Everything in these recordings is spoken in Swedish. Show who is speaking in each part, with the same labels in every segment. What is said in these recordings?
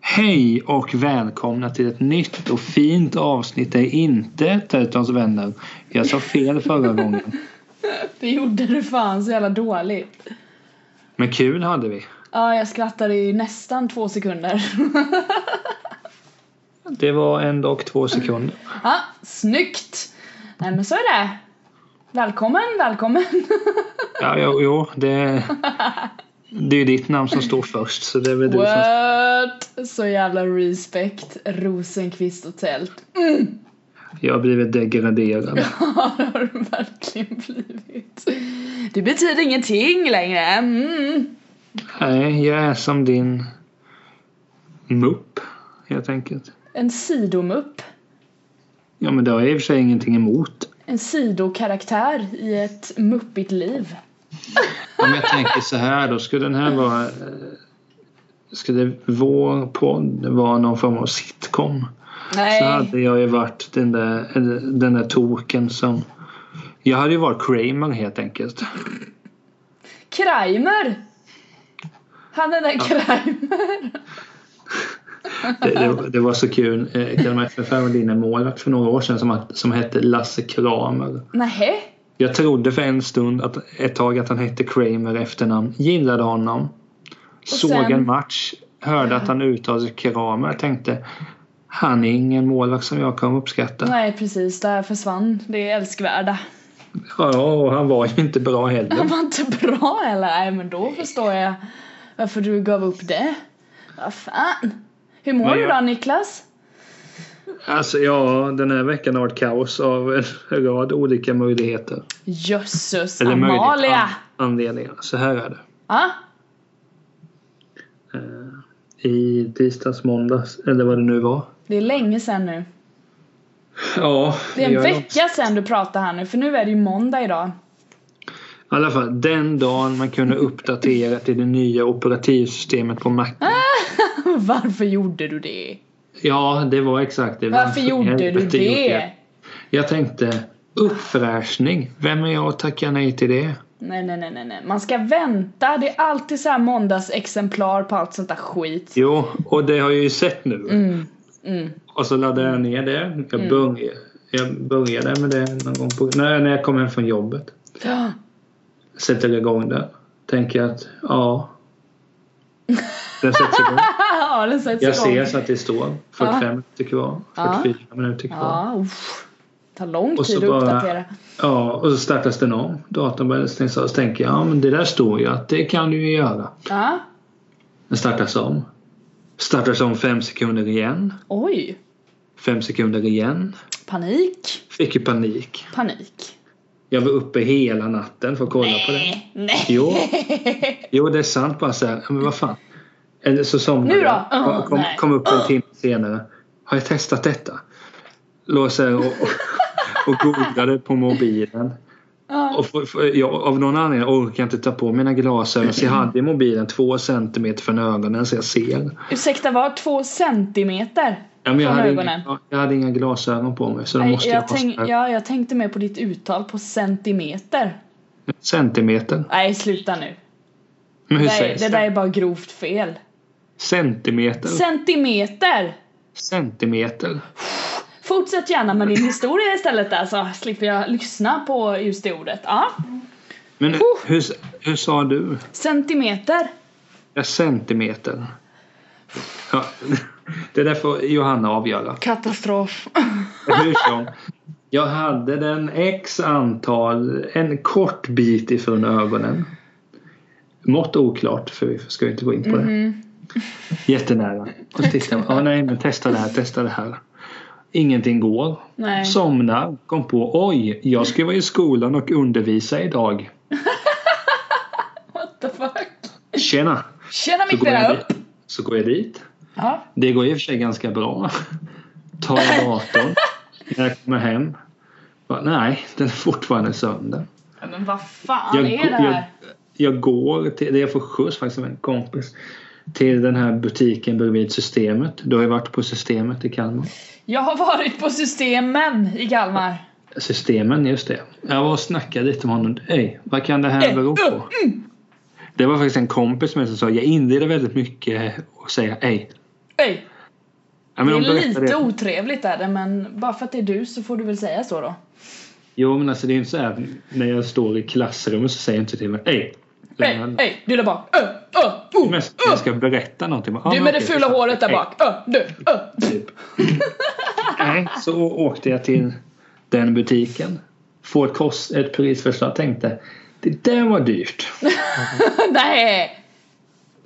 Speaker 1: Hej och välkomna till ett nytt och fint avsnitt där inte Tetons vänner. Jag sa fel förra gången.
Speaker 2: Det gjorde du fan så jävla dåligt.
Speaker 1: Men kul hade vi.
Speaker 2: Ja, jag skrattade i nästan två sekunder.
Speaker 1: Det var en och två sekunder.
Speaker 2: Ja, snyggt! Nej men så är det. Välkommen, välkommen.
Speaker 1: Ja, jo, jo det, det är ju ditt namn som står först så det är väl du som...
Speaker 2: What? Så jävla respect. Rosenqvist och tält.
Speaker 1: Jag har blivit degraderad.
Speaker 2: Ja, det har du verkligen blivit. Det betyder ingenting längre. Mm.
Speaker 1: Nej, jag är som din mupp helt enkelt.
Speaker 2: En sidomupp.
Speaker 1: Ja, men det har jag i och för sig ingenting emot.
Speaker 2: En sidokaraktär i ett muppigt liv.
Speaker 1: Om jag tänker så här då, skulle den här vara... eh, Skulle vår podd vara någon form av sitcom så
Speaker 2: Nej.
Speaker 1: hade jag ju varit den där, eller den där token som... Jag hade ju varit Kramer helt enkelt.
Speaker 2: Kramer! Han är den Kramer.
Speaker 1: Det, det, det var så kul. Eh, Kalmar FF hade in en målvakt för några år sedan som, att- som hette Lasse Kramer.
Speaker 2: Nähä?
Speaker 1: Jag trodde för en stund, att, ett tag, att han hette Kramer i efternamn. Gillade honom. Såg
Speaker 2: sen-
Speaker 1: en match. Hörde att han uttalade sig Kramer. Tänkte, han är ingen målvakt som jag kan uppskatta.
Speaker 2: Nej precis, där försvann det älskvärda.
Speaker 1: Ja, och han var ju inte bra heller.
Speaker 2: Det var inte bra eller? Nej men då förstår jag varför du gav upp det. Vad fan? Hur mår
Speaker 1: Vad
Speaker 2: du
Speaker 1: gör-
Speaker 2: då Niklas?
Speaker 1: Alltså ja, den här veckan har varit kaos av en rad olika möjligheter.
Speaker 2: Jösses
Speaker 1: Eller möjligt
Speaker 2: Amalia!
Speaker 1: an- anledningar. Så här är det.
Speaker 2: Ja,
Speaker 1: I tisdags, måndags, eller vad det nu var.
Speaker 2: det är länge sedan nu.
Speaker 1: Ja,
Speaker 2: Det är en
Speaker 1: jag-
Speaker 2: vecka sedan du pratade här nu för nu är det ju måndag idag.
Speaker 1: I alla fall den dagen man kunde uppdatera till det nya operativsystemet på Mac.
Speaker 2: Varför gjorde du det?
Speaker 1: Ja, det var exakt det.
Speaker 2: Varför
Speaker 1: i
Speaker 2: gjorde du
Speaker 1: helvete gjorde jag?
Speaker 2: det?
Speaker 1: Jag tänkte uppfräschning. Vem är jag att tacka nej till det?
Speaker 2: Nej, nej, nej, nej, nej. Man ska vänta. Det är alltid så här måndagsexemplar på allt sånt där skit.
Speaker 1: Jo, och det har jag ju sett nu.
Speaker 2: Mm. Mm.
Speaker 1: Och så laddade jag ner det. Jag, började, jag började med det någon gång på, när, när jag kom hem från jobbet.
Speaker 2: Ja.
Speaker 1: Sätter igång den. Tänker att ja. Den sätts igång.
Speaker 2: Ja, den sätts
Speaker 1: Jag
Speaker 2: igång.
Speaker 1: ser så att det står 45 minuter kvar.
Speaker 2: Ja.
Speaker 1: 44 minuter kvar.
Speaker 2: Ja, uff. Tar lång
Speaker 1: Och så
Speaker 2: tid att
Speaker 1: bara-
Speaker 2: uppdatera.
Speaker 1: Ja, och så startas den om. Datorn börjar stängas av. Så tänker jag, ja men det där står ju att det kan du ju göra.
Speaker 2: Ja.
Speaker 1: Den startas om. Startas om fem sekunder igen.
Speaker 2: Oj.
Speaker 1: Fem sekunder igen.
Speaker 2: Panik.
Speaker 1: Fick ju panik.
Speaker 2: Panik.
Speaker 1: Jag var uppe hela natten för att kolla på det.
Speaker 2: Nej.
Speaker 1: Jo. jo, det är sant bara så här. Men vad fan. Eller så somnade
Speaker 2: Nu då?
Speaker 1: jag.
Speaker 2: Åh,
Speaker 1: Kom- kom,
Speaker 2: nej.
Speaker 1: kom upp en timme senare. Har jag testat detta? Låg så här och, och, och googlade på mobilen.
Speaker 2: Ja.
Speaker 1: Och för, för, jag, av någon anledning orkar jag inte ta på mina glasögon så jag hade i mobilen två centimeter från ögonen så jag ser.
Speaker 2: Ursäkta, vad? Två centimeter?
Speaker 1: Ja, men jag,
Speaker 2: Från
Speaker 1: hade
Speaker 2: ögonen.
Speaker 1: inga, jag hade inga glasögon på mig så då
Speaker 2: Nej,
Speaker 1: måste jag,
Speaker 2: jag,
Speaker 1: ha
Speaker 2: tänk,
Speaker 1: så här
Speaker 2: ja, jag tänkte mer på ditt uttal på centimeter.
Speaker 1: centimeter.
Speaker 2: Nej, sluta nu.
Speaker 1: Men hur
Speaker 2: Nej,
Speaker 1: sägs
Speaker 2: det
Speaker 1: det?
Speaker 2: där är bara grovt fel.
Speaker 1: Centimeter?
Speaker 2: Centimeter!
Speaker 1: centimeter?
Speaker 2: Fortsätt gärna med din historia istället där så slipper jag lyssna på just det ordet. Ja.
Speaker 1: Men hur, hur sa du?
Speaker 2: Centimeter.
Speaker 1: Ja, centimeter. Ja, det där får Johanna avgöra.
Speaker 2: Katastrof.
Speaker 1: Hur som. Jag hade den x antal, en kort bit ifrån ögonen. Mått oklart, för vi ska ju inte gå in på det.
Speaker 2: Mhm.
Speaker 1: Jättenära. Och så tittar jag, ja, nej men testa det här, testa det här. Ingenting går.
Speaker 2: Nej.
Speaker 1: Somnar, kom på, oj, jag ska vara i skolan och undervisa idag.
Speaker 2: What the fuck?
Speaker 1: Tjena!
Speaker 2: Tjena
Speaker 1: Så går
Speaker 2: mittbena
Speaker 1: jag,
Speaker 2: upp!
Speaker 1: dit- så går jag dit.
Speaker 2: Ja.
Speaker 1: Det går i och för sig ganska bra. Tar datorn när jag kommer hem. Bara, nej, den är fortfarande sönder.
Speaker 2: Ja, Men vad fan är det
Speaker 1: jag,
Speaker 2: här?
Speaker 1: jag går till, jag får skjuts faktiskt av en kompis till den här butiken bredvid Systemet. Du har ju varit på Systemet i Kalmar.
Speaker 2: Jag har varit på systemen i Kalmar.
Speaker 1: Systemen, just det. Jag var och snackade lite med honom. Ej, vad kan det här
Speaker 2: Eh,
Speaker 1: bero på? Det var faktiskt en kompis med som sa jag inleder väldigt mycket och säger ej.
Speaker 2: Oj!
Speaker 1: Ja, men
Speaker 2: det är
Speaker 1: hon berättar
Speaker 2: lite otrevligt är det men bara för att det är du så får du väl säga så då.
Speaker 1: Jo men alltså det är inte så här när jag står i klassrummet så säger jag inte till mig Ey!
Speaker 2: Hej, hej, du där bak! Ö, ö, oh,
Speaker 1: Men jag ska berätta någonting. Ah,
Speaker 2: du
Speaker 1: men
Speaker 2: med det
Speaker 1: okej,
Speaker 2: fula
Speaker 1: så-
Speaker 2: håret där
Speaker 1: Ey,
Speaker 2: bak! Ö, du, ö!
Speaker 1: Typ. Nej, så åkte jag till den butiken. Får ett, kost, ett prisförslag. Tänkte det där var dyrt.
Speaker 2: Nej!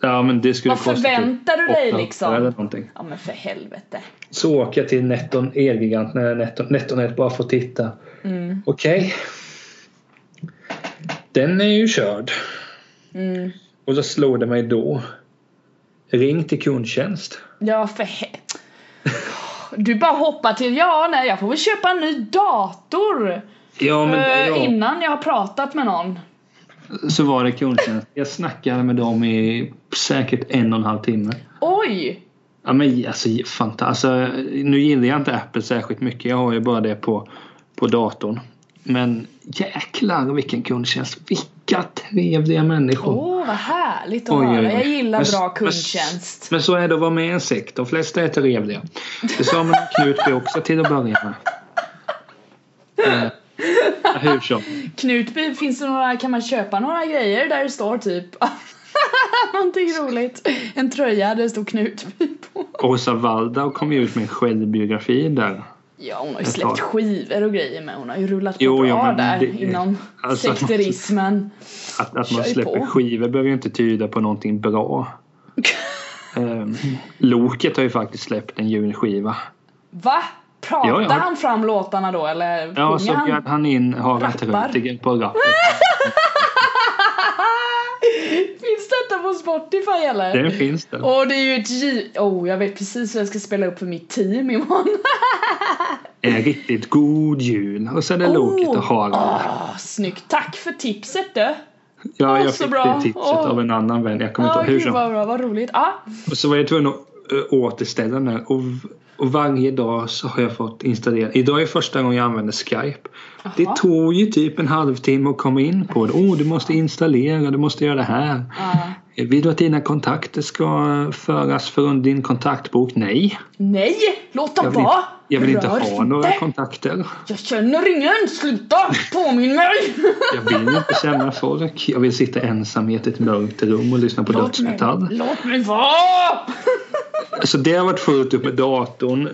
Speaker 1: Ja men det skulle
Speaker 2: Vad
Speaker 1: kosta typ
Speaker 2: förväntar du dig,
Speaker 1: 800
Speaker 2: liksom?
Speaker 1: Eller någonting.
Speaker 2: Ja men för helvete.
Speaker 1: Så åker jag till Netton Elgiganten eller Netton, Nettonet bara för att titta.
Speaker 2: Mm.
Speaker 1: Okej. Den är ju körd.
Speaker 2: Mm.
Speaker 1: Och så slog det mig då. Ring till kundtjänst.
Speaker 2: Ja för he- Du bara hoppar till, ja nej jag får väl köpa en ny dator!
Speaker 1: Ja men
Speaker 2: eh,
Speaker 1: ja,
Speaker 2: Innan jag har pratat med någon.
Speaker 1: så var det kundtjänst. Jag snackade med dem i säkert en och en halv timme.
Speaker 2: Oj!
Speaker 1: Ja men alltså fantastiskt. Alltså, nu gillar jag inte Apple särskilt mycket. Jag har ju bara det på, på datorn. Men jäklar vilken kundtjänst. Vilka trevliga människor.
Speaker 2: Åh vad härligt att
Speaker 1: Oj, oj,
Speaker 2: höra.
Speaker 1: oj.
Speaker 2: Jag gillar
Speaker 1: Men-
Speaker 2: bra
Speaker 1: men-
Speaker 2: kundtjänst.
Speaker 1: Men så är det att vara med i en sekt. De flesta är trevliga. Det sa man om Knutby också till att börja med. Eh, hur som.
Speaker 2: Knutby, finns det några, kan man köpa några grejer där det står typ Någonting roligt. En tröja där det står Knutby på.
Speaker 1: Åsa Waldau kom ju ut med en självbiografi där.
Speaker 2: Ja hon har ju
Speaker 1: Jag
Speaker 2: släppt
Speaker 1: tar-
Speaker 2: skivor och grejer men hon har ju rullat på
Speaker 1: Jo,
Speaker 2: bra
Speaker 1: jo, men
Speaker 2: där
Speaker 1: det-
Speaker 2: inom
Speaker 1: alltså, man-
Speaker 2: sekterismen.
Speaker 1: Att, att man
Speaker 2: Kör
Speaker 1: släpper
Speaker 2: på.
Speaker 1: skivor behöver ju inte tyda på någonting bra. Eh, Loket har ju faktiskt släppt en julskiva.
Speaker 2: Va? Pratar
Speaker 1: Ja, ja.
Speaker 2: han fram låtarna då eller
Speaker 1: Ja, så
Speaker 2: sjunger han?
Speaker 1: bjöd han in Harald
Speaker 2: Rappar.
Speaker 1: Rötiger på rappet.
Speaker 2: Finns detta på Spotify eller?
Speaker 1: Den finns där.
Speaker 2: Åh det är ju ett J... Oh jag vet precis hur jag ska spela upp för mitt team imorgon.
Speaker 1: En riktigt god jul. Och sen är Loket och Harald.
Speaker 2: Åh, Ah, snyggt. Tack för tipset du.
Speaker 1: Ja,
Speaker 2: åh,
Speaker 1: jag
Speaker 2: så
Speaker 1: fick
Speaker 2: bra.
Speaker 1: det tipset
Speaker 2: Åh.
Speaker 1: av en annan vän. Jag kommer inte ihåg
Speaker 2: Ja,
Speaker 1: hur
Speaker 2: Ah, gud
Speaker 1: som.
Speaker 2: vad bra, vad roligt. Ah. Ja,
Speaker 1: Och så var jag tvungen att eh, återställa den här. Och, och varje dag så har jag fått installera. Idag är första gången jag använder Skype. Det tog ju typ en halvtimme att komma in på det. Åh, oh, du måste installera, du måste göra det här. Eh,
Speaker 2: Ja.
Speaker 1: Vill du att dina kontakter ska föras från din kontaktbok? Nej,
Speaker 2: Nej, låt
Speaker 1: jag
Speaker 2: dem
Speaker 1: vill,
Speaker 2: vara.
Speaker 1: inte, jag vill inte
Speaker 2: Rör
Speaker 1: ha några kontakter.
Speaker 2: Jag känner ingen, sluta påminn mig.
Speaker 1: Jag vill inte känna folk. Jag vill sitta ensam i ett mörkt rum och lyssna på
Speaker 2: Låt mig,
Speaker 1: dödsmetall.
Speaker 2: låt mig vara.
Speaker 1: Så Alltså, det har varit fullt upp med datorn.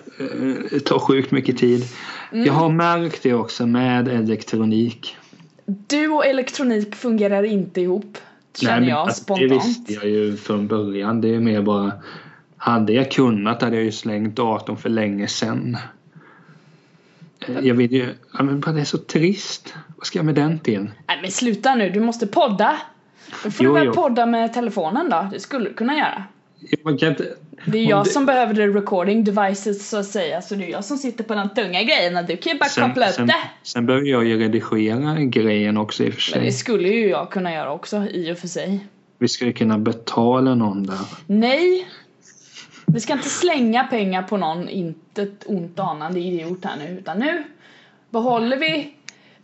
Speaker 1: eh, tar sjukt mycket tid. Jag
Speaker 2: Mm.
Speaker 1: har märkt det också med elektronik.
Speaker 2: Du och elektronik fungerar inte ihop. Känner
Speaker 1: men
Speaker 2: jag
Speaker 1: alltså, Det
Speaker 2: spontant.
Speaker 1: visste jag ju från början. Det är mer bara. Hade jag kunnat hade jag ju slängt datorn för länge sedan. Eh, Jag vill ju. Ja, men bara det är så trist. Vad ska jag med den till?
Speaker 2: Nej men sluta nu, du måste podda. Då får
Speaker 1: Jo,
Speaker 2: du väl
Speaker 1: jo.
Speaker 2: podda med telefonen då. Det skulle du kunna göra.
Speaker 1: Jag- Man kan inte.
Speaker 2: Det är
Speaker 1: Om
Speaker 2: jag
Speaker 1: det-
Speaker 2: som behöver det recording devices så att säga. Så det är jag som sitter på de tunga grejerna. Du kan ju bara
Speaker 1: Sen,
Speaker 2: koppla upp
Speaker 1: sen,
Speaker 2: det.
Speaker 1: sen behöver jag ju redigera grejen också i och för
Speaker 2: Men det
Speaker 1: sig.
Speaker 2: skulle ju jag kunna göra också i och för sig.
Speaker 1: Vi skulle kunna betala någon där.
Speaker 2: Nej! Vi ska inte slänga pengar på någon inte ett ont anande idiot här nu utan nu behåller vi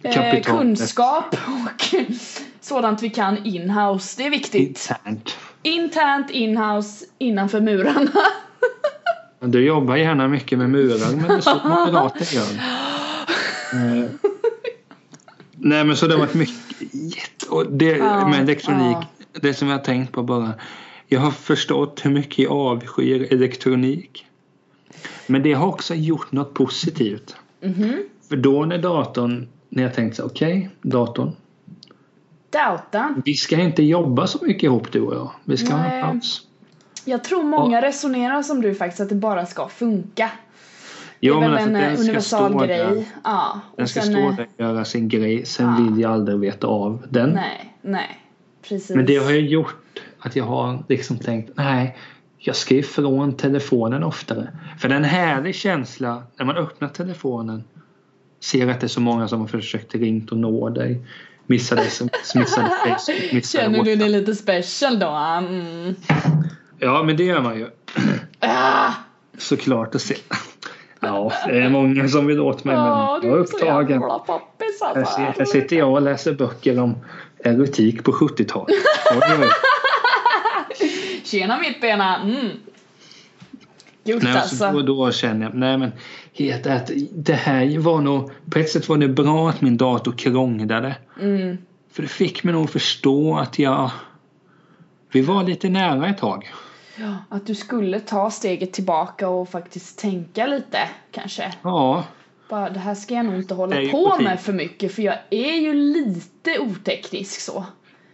Speaker 2: eh,
Speaker 1: Kapitalet.
Speaker 2: kunskap och sådant vi kan inhouse. Det är viktigt.
Speaker 1: Internt.
Speaker 2: Internt, inhouse, innanför murarna.
Speaker 1: Men Du jobbar gärna mycket med murar men det är så moderater gör. Eh, Nej men så det har varit mycket jätte- och det,
Speaker 2: Ja,
Speaker 1: med elektronik.
Speaker 2: ja.
Speaker 1: Det som jag har tänkt på bara. Jag har förstått hur mycket jag avskyr elektronik. Men det har också gjort något positivt.
Speaker 2: Mhm.
Speaker 1: För då när datorn, när jag tänkte så här, okej datorn.
Speaker 2: Dautan.
Speaker 1: Vi ska inte jobba så mycket ihop du och jag. Vi ska ha
Speaker 2: Nej.
Speaker 1: en paus.
Speaker 2: Jag tror många resonerar som du faktiskt att det bara ska funka. Det
Speaker 1: Jo,
Speaker 2: är väl
Speaker 1: alltså,
Speaker 2: en
Speaker 1: den
Speaker 2: eh,
Speaker 1: ska stå
Speaker 2: universal
Speaker 1: där.
Speaker 2: grej. Ja.
Speaker 1: Den ska
Speaker 2: sen,
Speaker 1: stå
Speaker 2: eh,
Speaker 1: där och göra sin grej. Sen
Speaker 2: ja.
Speaker 1: vill jag aldrig veta av den.
Speaker 2: Nej, nej. Precis.
Speaker 1: Men det har ju gjort att jag har liksom tänkt nej, jag ska ifrån telefonen oftare. För det är en härlig känsla när man öppnar telefonen. Ser att det är så många som har försökt ringt och nå dig. Missade sms, missade Facebook, missade
Speaker 2: Känner du
Speaker 1: WhatsApp.
Speaker 2: dig lite special då? Mm.
Speaker 1: Ja, men det gör man ju.
Speaker 2: Ah!
Speaker 1: Såklart att se. Ja, det är många som vill åt mig men
Speaker 2: Ja,
Speaker 1: jag
Speaker 2: du
Speaker 1: är
Speaker 2: är så
Speaker 1: upptagen.
Speaker 2: jävla poppis
Speaker 1: Här si-
Speaker 2: alltså.
Speaker 1: Här sitter jag och läser böcker om erotik på 70-talet. Oj, oj.
Speaker 2: Tjena mittbena! Mm. gjort
Speaker 1: Nej, alltså, då,
Speaker 2: alltså.
Speaker 1: då känner jag, nej men helt att det här var nog, på ett sätt var det bra att min dator krånglade.
Speaker 2: Mm.
Speaker 1: För det fick mig nog att förstå att jag, vi var lite nära ett tag.
Speaker 2: Ja, att du skulle ta steget tillbaka och faktiskt tänka lite kanske.
Speaker 1: Ja,
Speaker 2: Bara, det här ska jag nog inte hålla
Speaker 1: Det är ju
Speaker 2: på
Speaker 1: på
Speaker 2: med
Speaker 1: tiden.
Speaker 2: för mycket för jag är ju lite oteknisk så.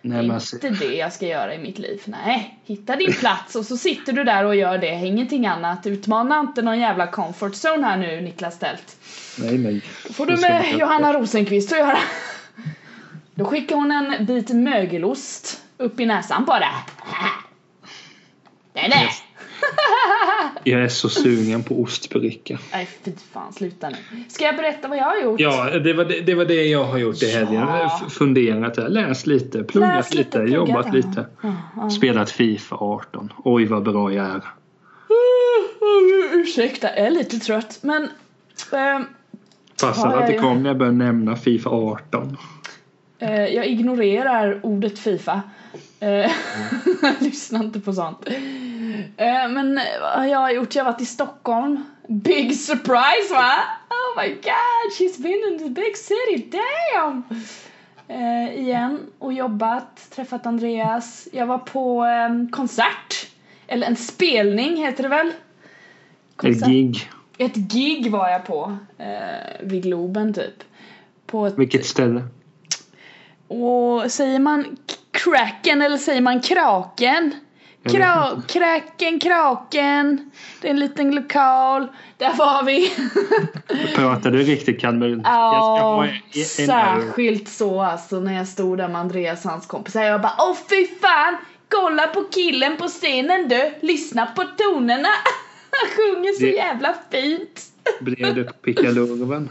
Speaker 2: Det
Speaker 1: nej
Speaker 2: är
Speaker 1: men alltså,
Speaker 2: inte det jag ska göra i mitt liv. Nej, hitta din plats och så sitter du där och gör det, ingenting annat. Utmana inte någon jävla comfort zone här nu Niklas Stelt.
Speaker 1: nej nej.
Speaker 2: Då får du
Speaker 1: Jag ska
Speaker 2: med
Speaker 1: försöka-
Speaker 2: Johanna Rosenqvist att göra. Då skickar hon en bit mögelost upp i näsan på dig. Nej, nej.
Speaker 1: Yes. Jag är så sugen på ostbricka.
Speaker 2: Nej, fy fan, sluta nu. Ska jag berätta vad jag har gjort?
Speaker 1: Ja, det var det, det, var det jag har gjort i helgen.
Speaker 2: Ja.
Speaker 1: F- Funderat, läst lite, pluggat
Speaker 2: Läst
Speaker 1: lite,
Speaker 2: lite, pluggat,
Speaker 1: jobbat
Speaker 2: ja.
Speaker 1: lite.
Speaker 2: Ja, ja.
Speaker 1: Spelat Fifa 18. Oj vad bra jag är.
Speaker 2: Uh, Ursäkta, jag är lite trött, men... ehm,
Speaker 1: Passar
Speaker 2: Ja, ja,
Speaker 1: att det
Speaker 2: ja.
Speaker 1: kom när jag började nämna Fifa 18.
Speaker 2: Eh, jag ignorerar ordet Fifa. Eh, Lyssna inte på sånt. Eh, men eh, vad har jag gjort? Jag har varit i Stockholm. Big surprise va? Oh my god, she's been in the big city, damn! Eh, igen och jobbat, träffat Andreas. Jag var på eh, konsert. Eller en spelning heter det väl?
Speaker 1: Ett gig.
Speaker 2: Ett gig var jag på. Eh, vid Globen typ. På ett
Speaker 1: Vilket ställe?
Speaker 2: och säger man k- kraken eller säger man kraken?
Speaker 1: Jag vet
Speaker 2: Kra- kraken, kraken. Det är en liten lokal. Där var vi.
Speaker 1: Pratar du riktigt Kalmar?
Speaker 2: Ja, särskilt så alltså när jag stod där med Andreas och hans kompisar. Jag bara åh fy fan! Kolla på killen på scenen du! Lyssna på tonerna! Han sjunger så
Speaker 1: Det-
Speaker 2: jävla fint!
Speaker 1: Blev du på pickalurven?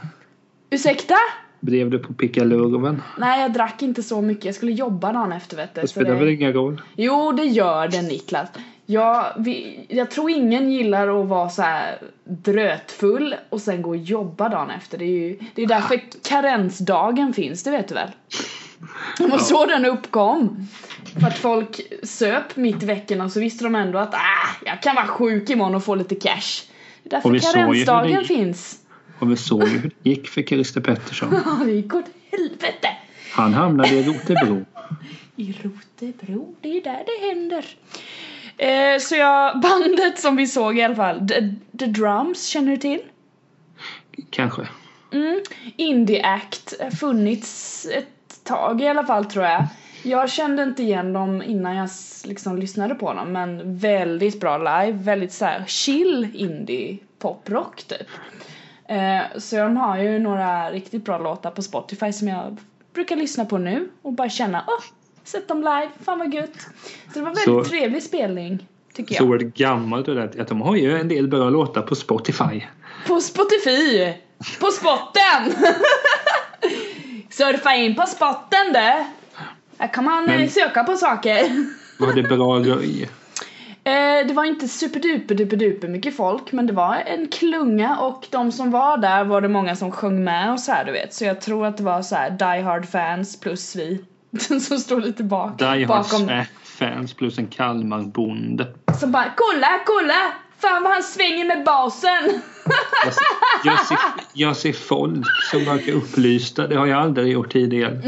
Speaker 2: Ursäkta?
Speaker 1: Blev du på pickalurven?
Speaker 2: Nej jag drack inte så mycket, jag skulle jobba dagen efter vet du.
Speaker 1: Det
Speaker 2: så
Speaker 1: spelar
Speaker 2: det-
Speaker 1: väl ingen roll?
Speaker 2: Jo, det gör det Niklas. Jag, vi, jag tror ingen gillar att vara så här drötfull och sen gå och jobba dagen efter. Det är ju det är därför karensdagen finns, det vet du väl? Det var så den uppkom. För att folk söp mitt i veckorna och så visste de ändå att ah, jag kan vara sjuk imorgon och få lite cash. Det är
Speaker 1: Och
Speaker 2: därför
Speaker 1: vi såg ju hur det
Speaker 2: karensdagen
Speaker 1: gick.
Speaker 2: finns.
Speaker 1: Och vi såg ju hur det gick för Christer Pettersson.
Speaker 2: Ja, det gick åt helvete.
Speaker 1: Han hamnade i Rotebro.
Speaker 2: I Rotebro, det är ju där det händer. Eh, så jag, bandet som vi såg i alla fall, The, The Drums, känner du till?
Speaker 1: Kanske.
Speaker 2: Mm. Indie Act, har funnits ett tag i alla fall tror jag. Jag kände inte igen dem innan jag s- liksom lyssnade på dem men väldigt bra live, väldigt så här chill indie poprock typ. Eh, så de har ju några riktigt bra låtar på Spotify som jag brukar lyssna på nu och bara känna åh, sett dem live, fan vad gött. Så det var väldigt
Speaker 1: Så-
Speaker 2: trevlig spelning tycker jag.
Speaker 1: Så var det gammalt och det att de har ju en del bra låtar på Spotify.
Speaker 2: På Spotify! På spotten! Surfa in på spotten du! Här kan man eh,
Speaker 1: Men-
Speaker 2: söka på saker.
Speaker 1: Var det bra röj?
Speaker 2: Eh, det var inte superduper duper duper mycket folk men det var en klunga och de som var där var det många som sjöng med och så här du vet. Så jag tror att det var så här die hard fans plus vi som står lite bak,
Speaker 1: Die
Speaker 2: bakom.
Speaker 1: Hard fans plus en Kalmarbonde.
Speaker 2: Som bara kolla, kolla! Fan vad han svänger med basen!
Speaker 1: Jag ser, jag, ser, jag ser folk som verkar upplysta. Det har jag aldrig gjort tidigare.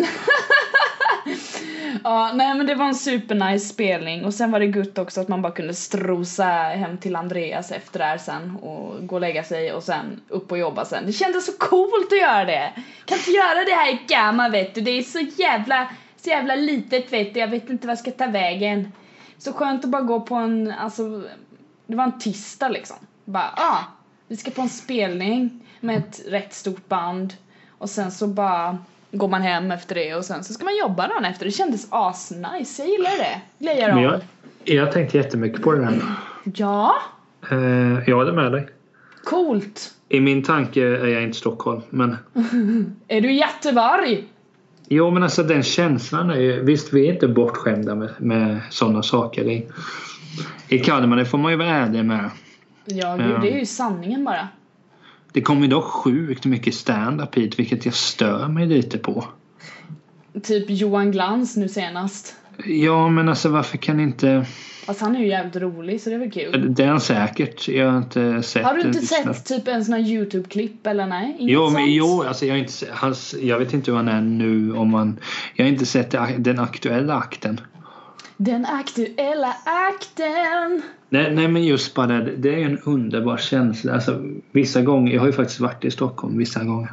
Speaker 2: Ja, nej men det var en supernice spelning och sen var det gutt också att man bara kunde strosa hem till Andreas efter det här sen och gå och lägga sig och sen upp och jobba sen. Det kändes så coolt att göra det! Kan inte göra det här i gamma vet du, det är så jävla, så jävla litet vet du, jag vet inte vad jag ska ta vägen. Så skönt att bara gå på en, alltså, det var en tisdag liksom. Bara, ja, ah, vi ska på en spelning med ett rätt stort band och sen så bara går man hem efter det och sen så ska man jobba dagen efter. Det kändes asnice, jag gillar det. Glejar om.
Speaker 1: Men jag, jag tänkte jättemycket på det här.
Speaker 2: Ja,
Speaker 1: Eh, jag håller med dig.
Speaker 2: coolt.
Speaker 1: I min tanke är jag inte Stockholm. Men,
Speaker 2: Är du i Göteborg?
Speaker 1: jo, men alltså den känslan är ju... Visst, vi är inte bortskämda med, med sådana saker. I, I Kalmar, det får man ju vara ärlig med.
Speaker 2: Ja, gud,
Speaker 1: Ja.
Speaker 2: det är ju sanningen bara.
Speaker 1: Det kommer ju dock sjukt mycket stand-up hit, vilket jag stör mig lite på.
Speaker 2: Typ Johan Glans nu senast.
Speaker 1: Ja, men alltså varför kan inte...
Speaker 2: Fast han är ju jävligt rolig så det är väl kul.
Speaker 1: Det är han säkert. Jag har inte sett
Speaker 2: Har du inte
Speaker 1: eller
Speaker 2: sett
Speaker 1: lyssnat.
Speaker 2: typ en sån här YouTube-klipp eller nej? Inget
Speaker 1: Jo,
Speaker 2: sånt?
Speaker 1: men jo, alltså jag har inte se- hans, Jag vet inte hur han är nu om han... Jag har inte sett det- den aktuella akten.
Speaker 2: Den aktuella akten!
Speaker 1: Nej, nej men just bara det, det är ju en underbar känsla. Alltså, vissa gånger, jag har ju faktiskt varit i Stockholm vissa gånger.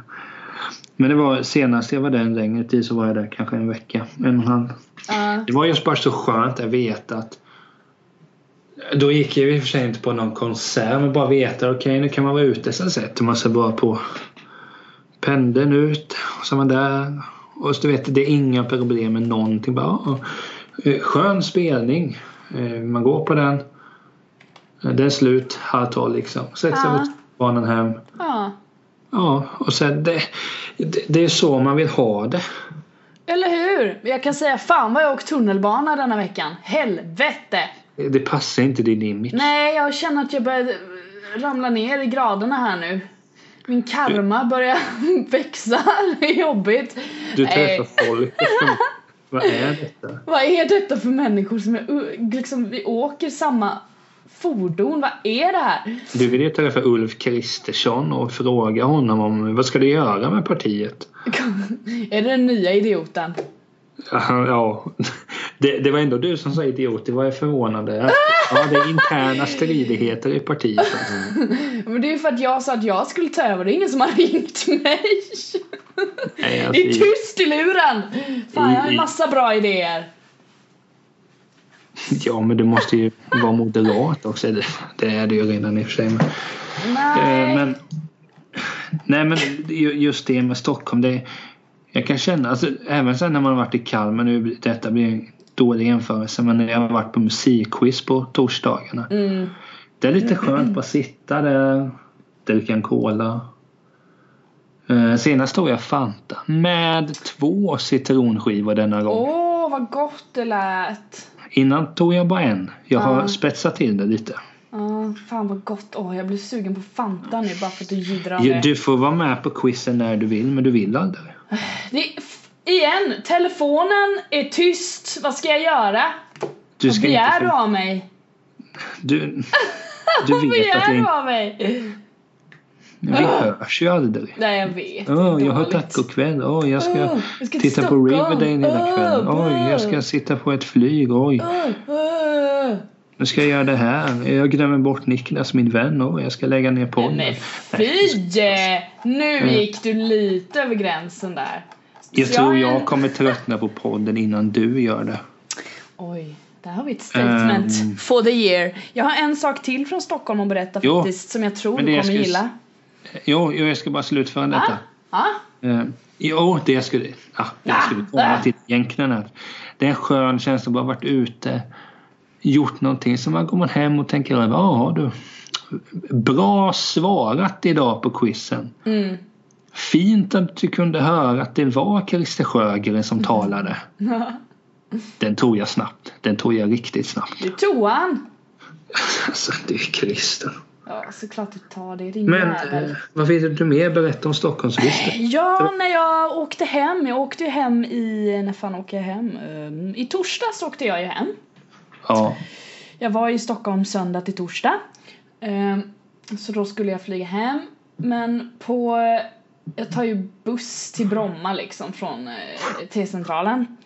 Speaker 1: Men det var senast jag var där en längre tid så var jag där kanske en vecka. En och en halv.
Speaker 2: Ja.
Speaker 1: Det var just bara så skönt att veta att då gick jag ju i och för sig inte på någon konsert men bara veta okej nu kan man vara ute. Sen sätter man sig bara på pendeln ut och så är man där. Och så du vet det är inga problem med någonting. Bara, ah, eh, skön spelning. Eh, Man går på den. Eh, Den är slut halv tolv liksom. Sätter sig
Speaker 2: Ja.
Speaker 1: mot barnen hem.
Speaker 2: ja.
Speaker 1: Ja och sen det, det, det är så man vill ha det.
Speaker 2: Eller hur? Men Jag kan säga fan vad jag har åkt tunnelbana denna veckan. Helvete!
Speaker 1: Det passar inte din image.
Speaker 2: Nej, jag känner att jag börjar eh, ramla ner i graderna här nu. Min karma börjar växa. Det är alltså. jobbigt.
Speaker 1: Du
Speaker 2: Nej.
Speaker 1: träffar folk. Vad är detta?
Speaker 2: Vad är detta för människor som jag, uh, liksom, vi åker samma fordon? Vad är det här?
Speaker 1: Du vill ju träffa Ulf Kristersson och fråga honom om vad ska du göra med partiet?
Speaker 2: är det den nya idioten?
Speaker 1: Ja, Ja, det, det var ändå du som sa idiot. Det var jag förvånande. Att, ja, det är interna stridigheter i partiet.
Speaker 2: Men det är ju för att jag sa att jag skulle ta över. Det är ingen som har ringt mig.
Speaker 1: Nej, alltså,
Speaker 2: Alltså, Det är Mm, tyst i luren! Fan, jag har
Speaker 1: I-
Speaker 2: en
Speaker 1: i-
Speaker 2: massa bra idéer.
Speaker 1: Ja, men du måste ju vara moderat också. Det, det är du ju redan i och för sig. Men,
Speaker 2: Nej.
Speaker 1: Eh, men, nej men ju- just det med Stockholm. Det, jag kan känna, alltså, även sen när man har varit i Kalmar, nu blir- detta blir en dålig jämförelse, men när jag har varit på musikquiz på torsdagarna.
Speaker 2: Mm.
Speaker 1: Det är lite skönt att bara sitta där, dricka en cola. Eh, Senast tog jag Fanta med två citronskivor denna gång.
Speaker 2: Åh, vad gott det lät!
Speaker 1: Innan tog jag bara en. Jag har
Speaker 2: Ah.
Speaker 1: spetsat till det lite.
Speaker 2: Ah, fan vad gott. Åh, jag blir sugen på Fanta nu bara för att du jiddrar om
Speaker 1: Ju-
Speaker 2: det.
Speaker 1: Du får vara med på quizen när du vill, men du vill aldrig.
Speaker 2: det är f- igen, telefonen är tyst. Vad ska jag göra?
Speaker 1: Du
Speaker 2: Vad
Speaker 1: ska inte
Speaker 2: begär
Speaker 1: få-
Speaker 2: du av mig?
Speaker 1: Du, du
Speaker 2: Vad
Speaker 1: vet att
Speaker 2: begär
Speaker 1: jag
Speaker 2: du
Speaker 1: inte...
Speaker 2: av mig?
Speaker 1: Vi hörs ju aldrig.
Speaker 2: Nej, jag vet.
Speaker 1: Åh, jag har
Speaker 2: Dåligt.
Speaker 1: tacokväll. Åh, jag ska
Speaker 2: Åh, jag ska till
Speaker 1: titta på
Speaker 2: Stockholm.
Speaker 1: Riverdale hela
Speaker 2: Åh,
Speaker 1: kvällen. Oj,
Speaker 2: bra.
Speaker 1: jag ska sitta på ett flyg. Oj,
Speaker 2: Åh, åh.
Speaker 1: nu ska jag göra det här. Jag glömmer bort Niklas, min vän. Oj, jag ska lägga ner podden.
Speaker 2: Men fy! Nu gick du lite över gränsen där.
Speaker 1: jag
Speaker 2: Så
Speaker 1: tror
Speaker 2: är en-
Speaker 1: jag kommer tröttna på podden innan du gör det.
Speaker 2: Oj, där har vi ett statement
Speaker 1: Ehm.
Speaker 2: for the year. Jag har en sak till från Stockholm att berätta
Speaker 1: Jo,
Speaker 2: faktiskt som jag tror du
Speaker 1: men
Speaker 2: kommer
Speaker 1: det jag skulle-
Speaker 2: gilla.
Speaker 1: Jo, jo jag ska bara slutföra detta.
Speaker 2: Ah, ah,
Speaker 1: Eh, jo, det jag skulle, ah, det jag skulle komma till egentligen är att det är en skön känsla att bara varit ute, gjort någonting. Så man går man hem och tänker över, ja du, bra svarat idag på quizen.
Speaker 2: mm.
Speaker 1: Fint att du kunde höra att det var Christer Sjögren
Speaker 2: Mm.
Speaker 1: som talade. Den tog jag snabbt. Den tog jag riktigt snabbt.
Speaker 2: Du tog han!
Speaker 1: Alltså, det är Christer.
Speaker 2: Ja, såklart du tar det. Din
Speaker 1: Men
Speaker 2: jävel.
Speaker 1: eh, vad vill du mer berätta om Stockholmsvisten?
Speaker 2: Ja, när jag åkte hem. Jag åkte ju hem i... När fan åker jag hem? Ehm, I torsdags åkte jag ju hem.
Speaker 1: Ja,
Speaker 2: Jag var i Stockholm söndag till torsdag. Ehm, Så då skulle jag flyga hem. Men på... Jag tar ju buss till Bromma liksom från eh, T-centralen.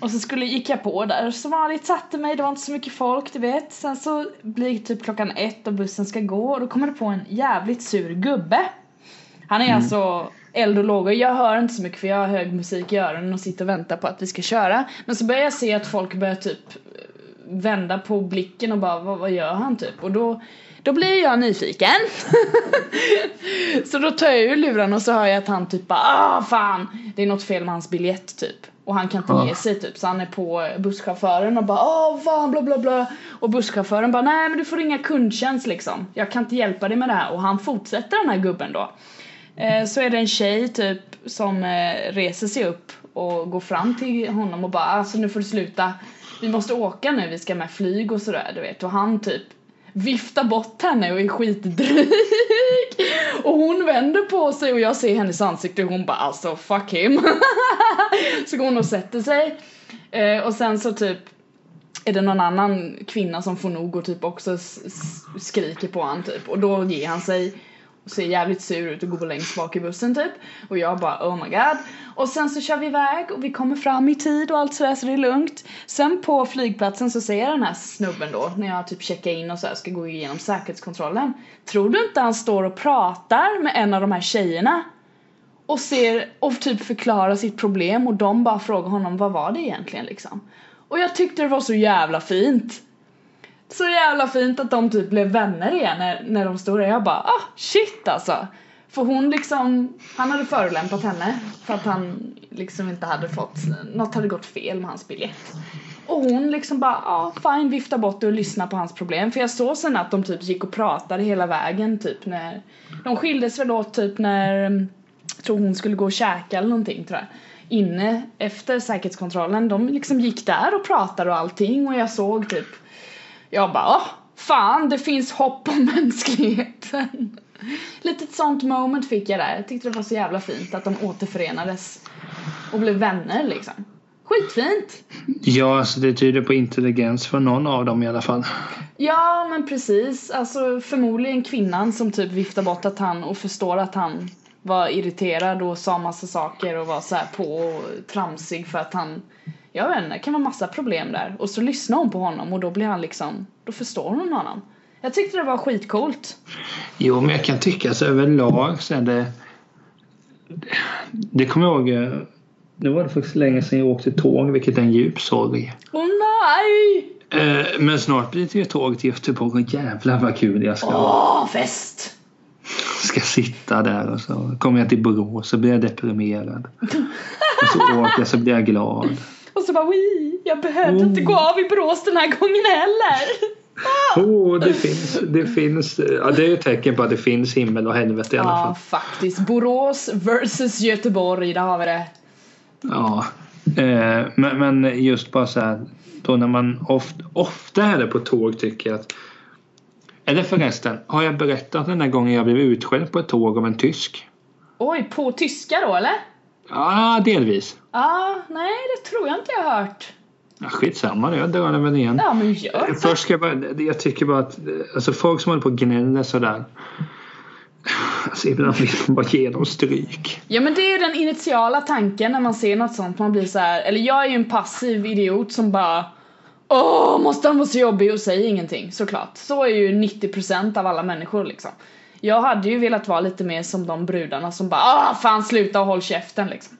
Speaker 2: Och så skulle, gick jag på där som vanligt, satte mig, det var inte så mycket folk du vet. Sen så blir det typ klockan ett och bussen ska gå och då kommer det på en jävligt sur gubbe. Han är alltså eld och lågor. Jag hör inte så mycket för jag har hög musik i öronen och sitter och väntar på att vi ska köra. Men så börjar jag se att folk börjar typ vända på blicken och bara vad, vad gör han typ? Och då, då blir jag nyfiken. så då tar jag ur luren och så hör jag att han typ bara ah fan det är något fel med hans biljett typ. Och han kan inte
Speaker 1: Ja.
Speaker 2: ge sig typ så han är på busschauffören och bara ah fan bla bla bla. Och busschauffören bara nej men du får ringa kundtjänst liksom. Jag kan inte hjälpa dig med det här och han fortsätter den här gubben då. Eh, så är det en tjej typ som eh, reser sig upp och går fram till honom och bara alltså nu får du sluta. Vi måste åka nu, vi ska med flyg och sådär du vet och han typ viftar bort henne och är skitdryg. Och hon vänder på sig och jag ser hennes ansikte och hon bara alltså fuck him. så går hon och sätter sig. Eh, och sen så typ är det någon annan kvinna som får nog och typ också s- s- skriker på han typ och då ger han sig och ser jävligt sur ut och går längst bak i bussen typ och jag bara oh my god och sen så kör vi iväg och vi kommer fram i tid och allt sådär så det är lugnt sen på flygplatsen så ser jag den här snubben då när jag typ checkar in och så här, ska gå igenom säkerhetskontrollen tror du inte han står och pratar med en av de här tjejerna och ser och typ förklarar sitt problem och de bara frågar honom vad var det egentligen liksom. Och jag tyckte det var så jävla fint. Så jävla fint att de typ blev vänner igen när, när de stod där. Jag bara ah shit alltså. För hon liksom, han hade förolämpat henne för att han liksom inte hade fått, något hade gått fel med hans biljett. Och hon liksom bara ja ah, fine vifta bort det och lyssna på hans problem. För jag såg sen att de typ gick och pratade hela vägen typ när, de skildes väl åt typ när mm, jag tror hon skulle gå och käka eller någonting tror jag. Inne efter säkerhetskontrollen, de liksom gick där och pratade och allting och jag såg typ Jag bara åh, fan det finns hopp om mänskligheten. Litet sånt moment fick jag där. Jag tyckte det var så jävla fint att de återförenades och blev vänner liksom. Skitfint!
Speaker 1: Ja, alltså det tyder på intelligens för någon av dem i alla fall.
Speaker 2: Ja men precis, alltså förmodligen kvinnan som typ viftar bort att han och förstår att han var irriterad och sa massa saker och var så här på och tramsig för att han Jag vet inte, det kan vara massa problem där och så lyssnar hon på honom och då blir han liksom Då förstår hon honom Jag tyckte det var skitcoolt
Speaker 1: Jo, men jag kan tycka så överlag så är det... Det kommer jag ihåg. eh, Nu var det faktiskt länge sedan jag åkte tåg, vilket är en djup sorg.
Speaker 2: Åh nej!
Speaker 1: Eh, Men snart blir det ju tåg till Göteborg. Jävlar vad kul jag ska,
Speaker 2: Åh fest!
Speaker 1: ska sitta där. Och så kommer jag till Borås så blir jag deprimerad. Och så åker jag så blir jag glad.
Speaker 2: Och så bara wii, jag behövde inte gå av i Borås den här gången heller
Speaker 1: Oh, det finns, det finns. Ja, det är ju ett tecken på att det finns himmel och helvete i alla fall.
Speaker 2: Ja faktiskt, Borås versus Göteborg, där har vi det
Speaker 1: Ja. Eh, men, men just bara så här. Då när man ofta, ofta är det på tåg tycker jag att. Eller förresten, har jag berättat den där gången jag blev utskälld på ett tåg av en tysk?
Speaker 2: Oj, på tyska då eller?
Speaker 1: Ja, delvis.
Speaker 2: Ja, nej det tror jag inte jag har hört.
Speaker 1: Ja, skitsamma, jag drar den väl igen.
Speaker 2: Ja men gör det.
Speaker 1: Först ska jag bara, jag tycker bara att alltså folk som håller på och gnäller sådär. Alltså ibland vill man bara ge dem stryk.
Speaker 2: Ja men det är ju den initiala tanken när man ser något sånt. Man blir så här, eller jag är ju en passiv idiot som bara Åh, måste han vara så jobbig och säger ingenting såklart. Så är ju 90% av alla människor liksom. Jag hade ju velat vara lite mer som de brudarna som bara Åh fan sluta och håll käften liksom.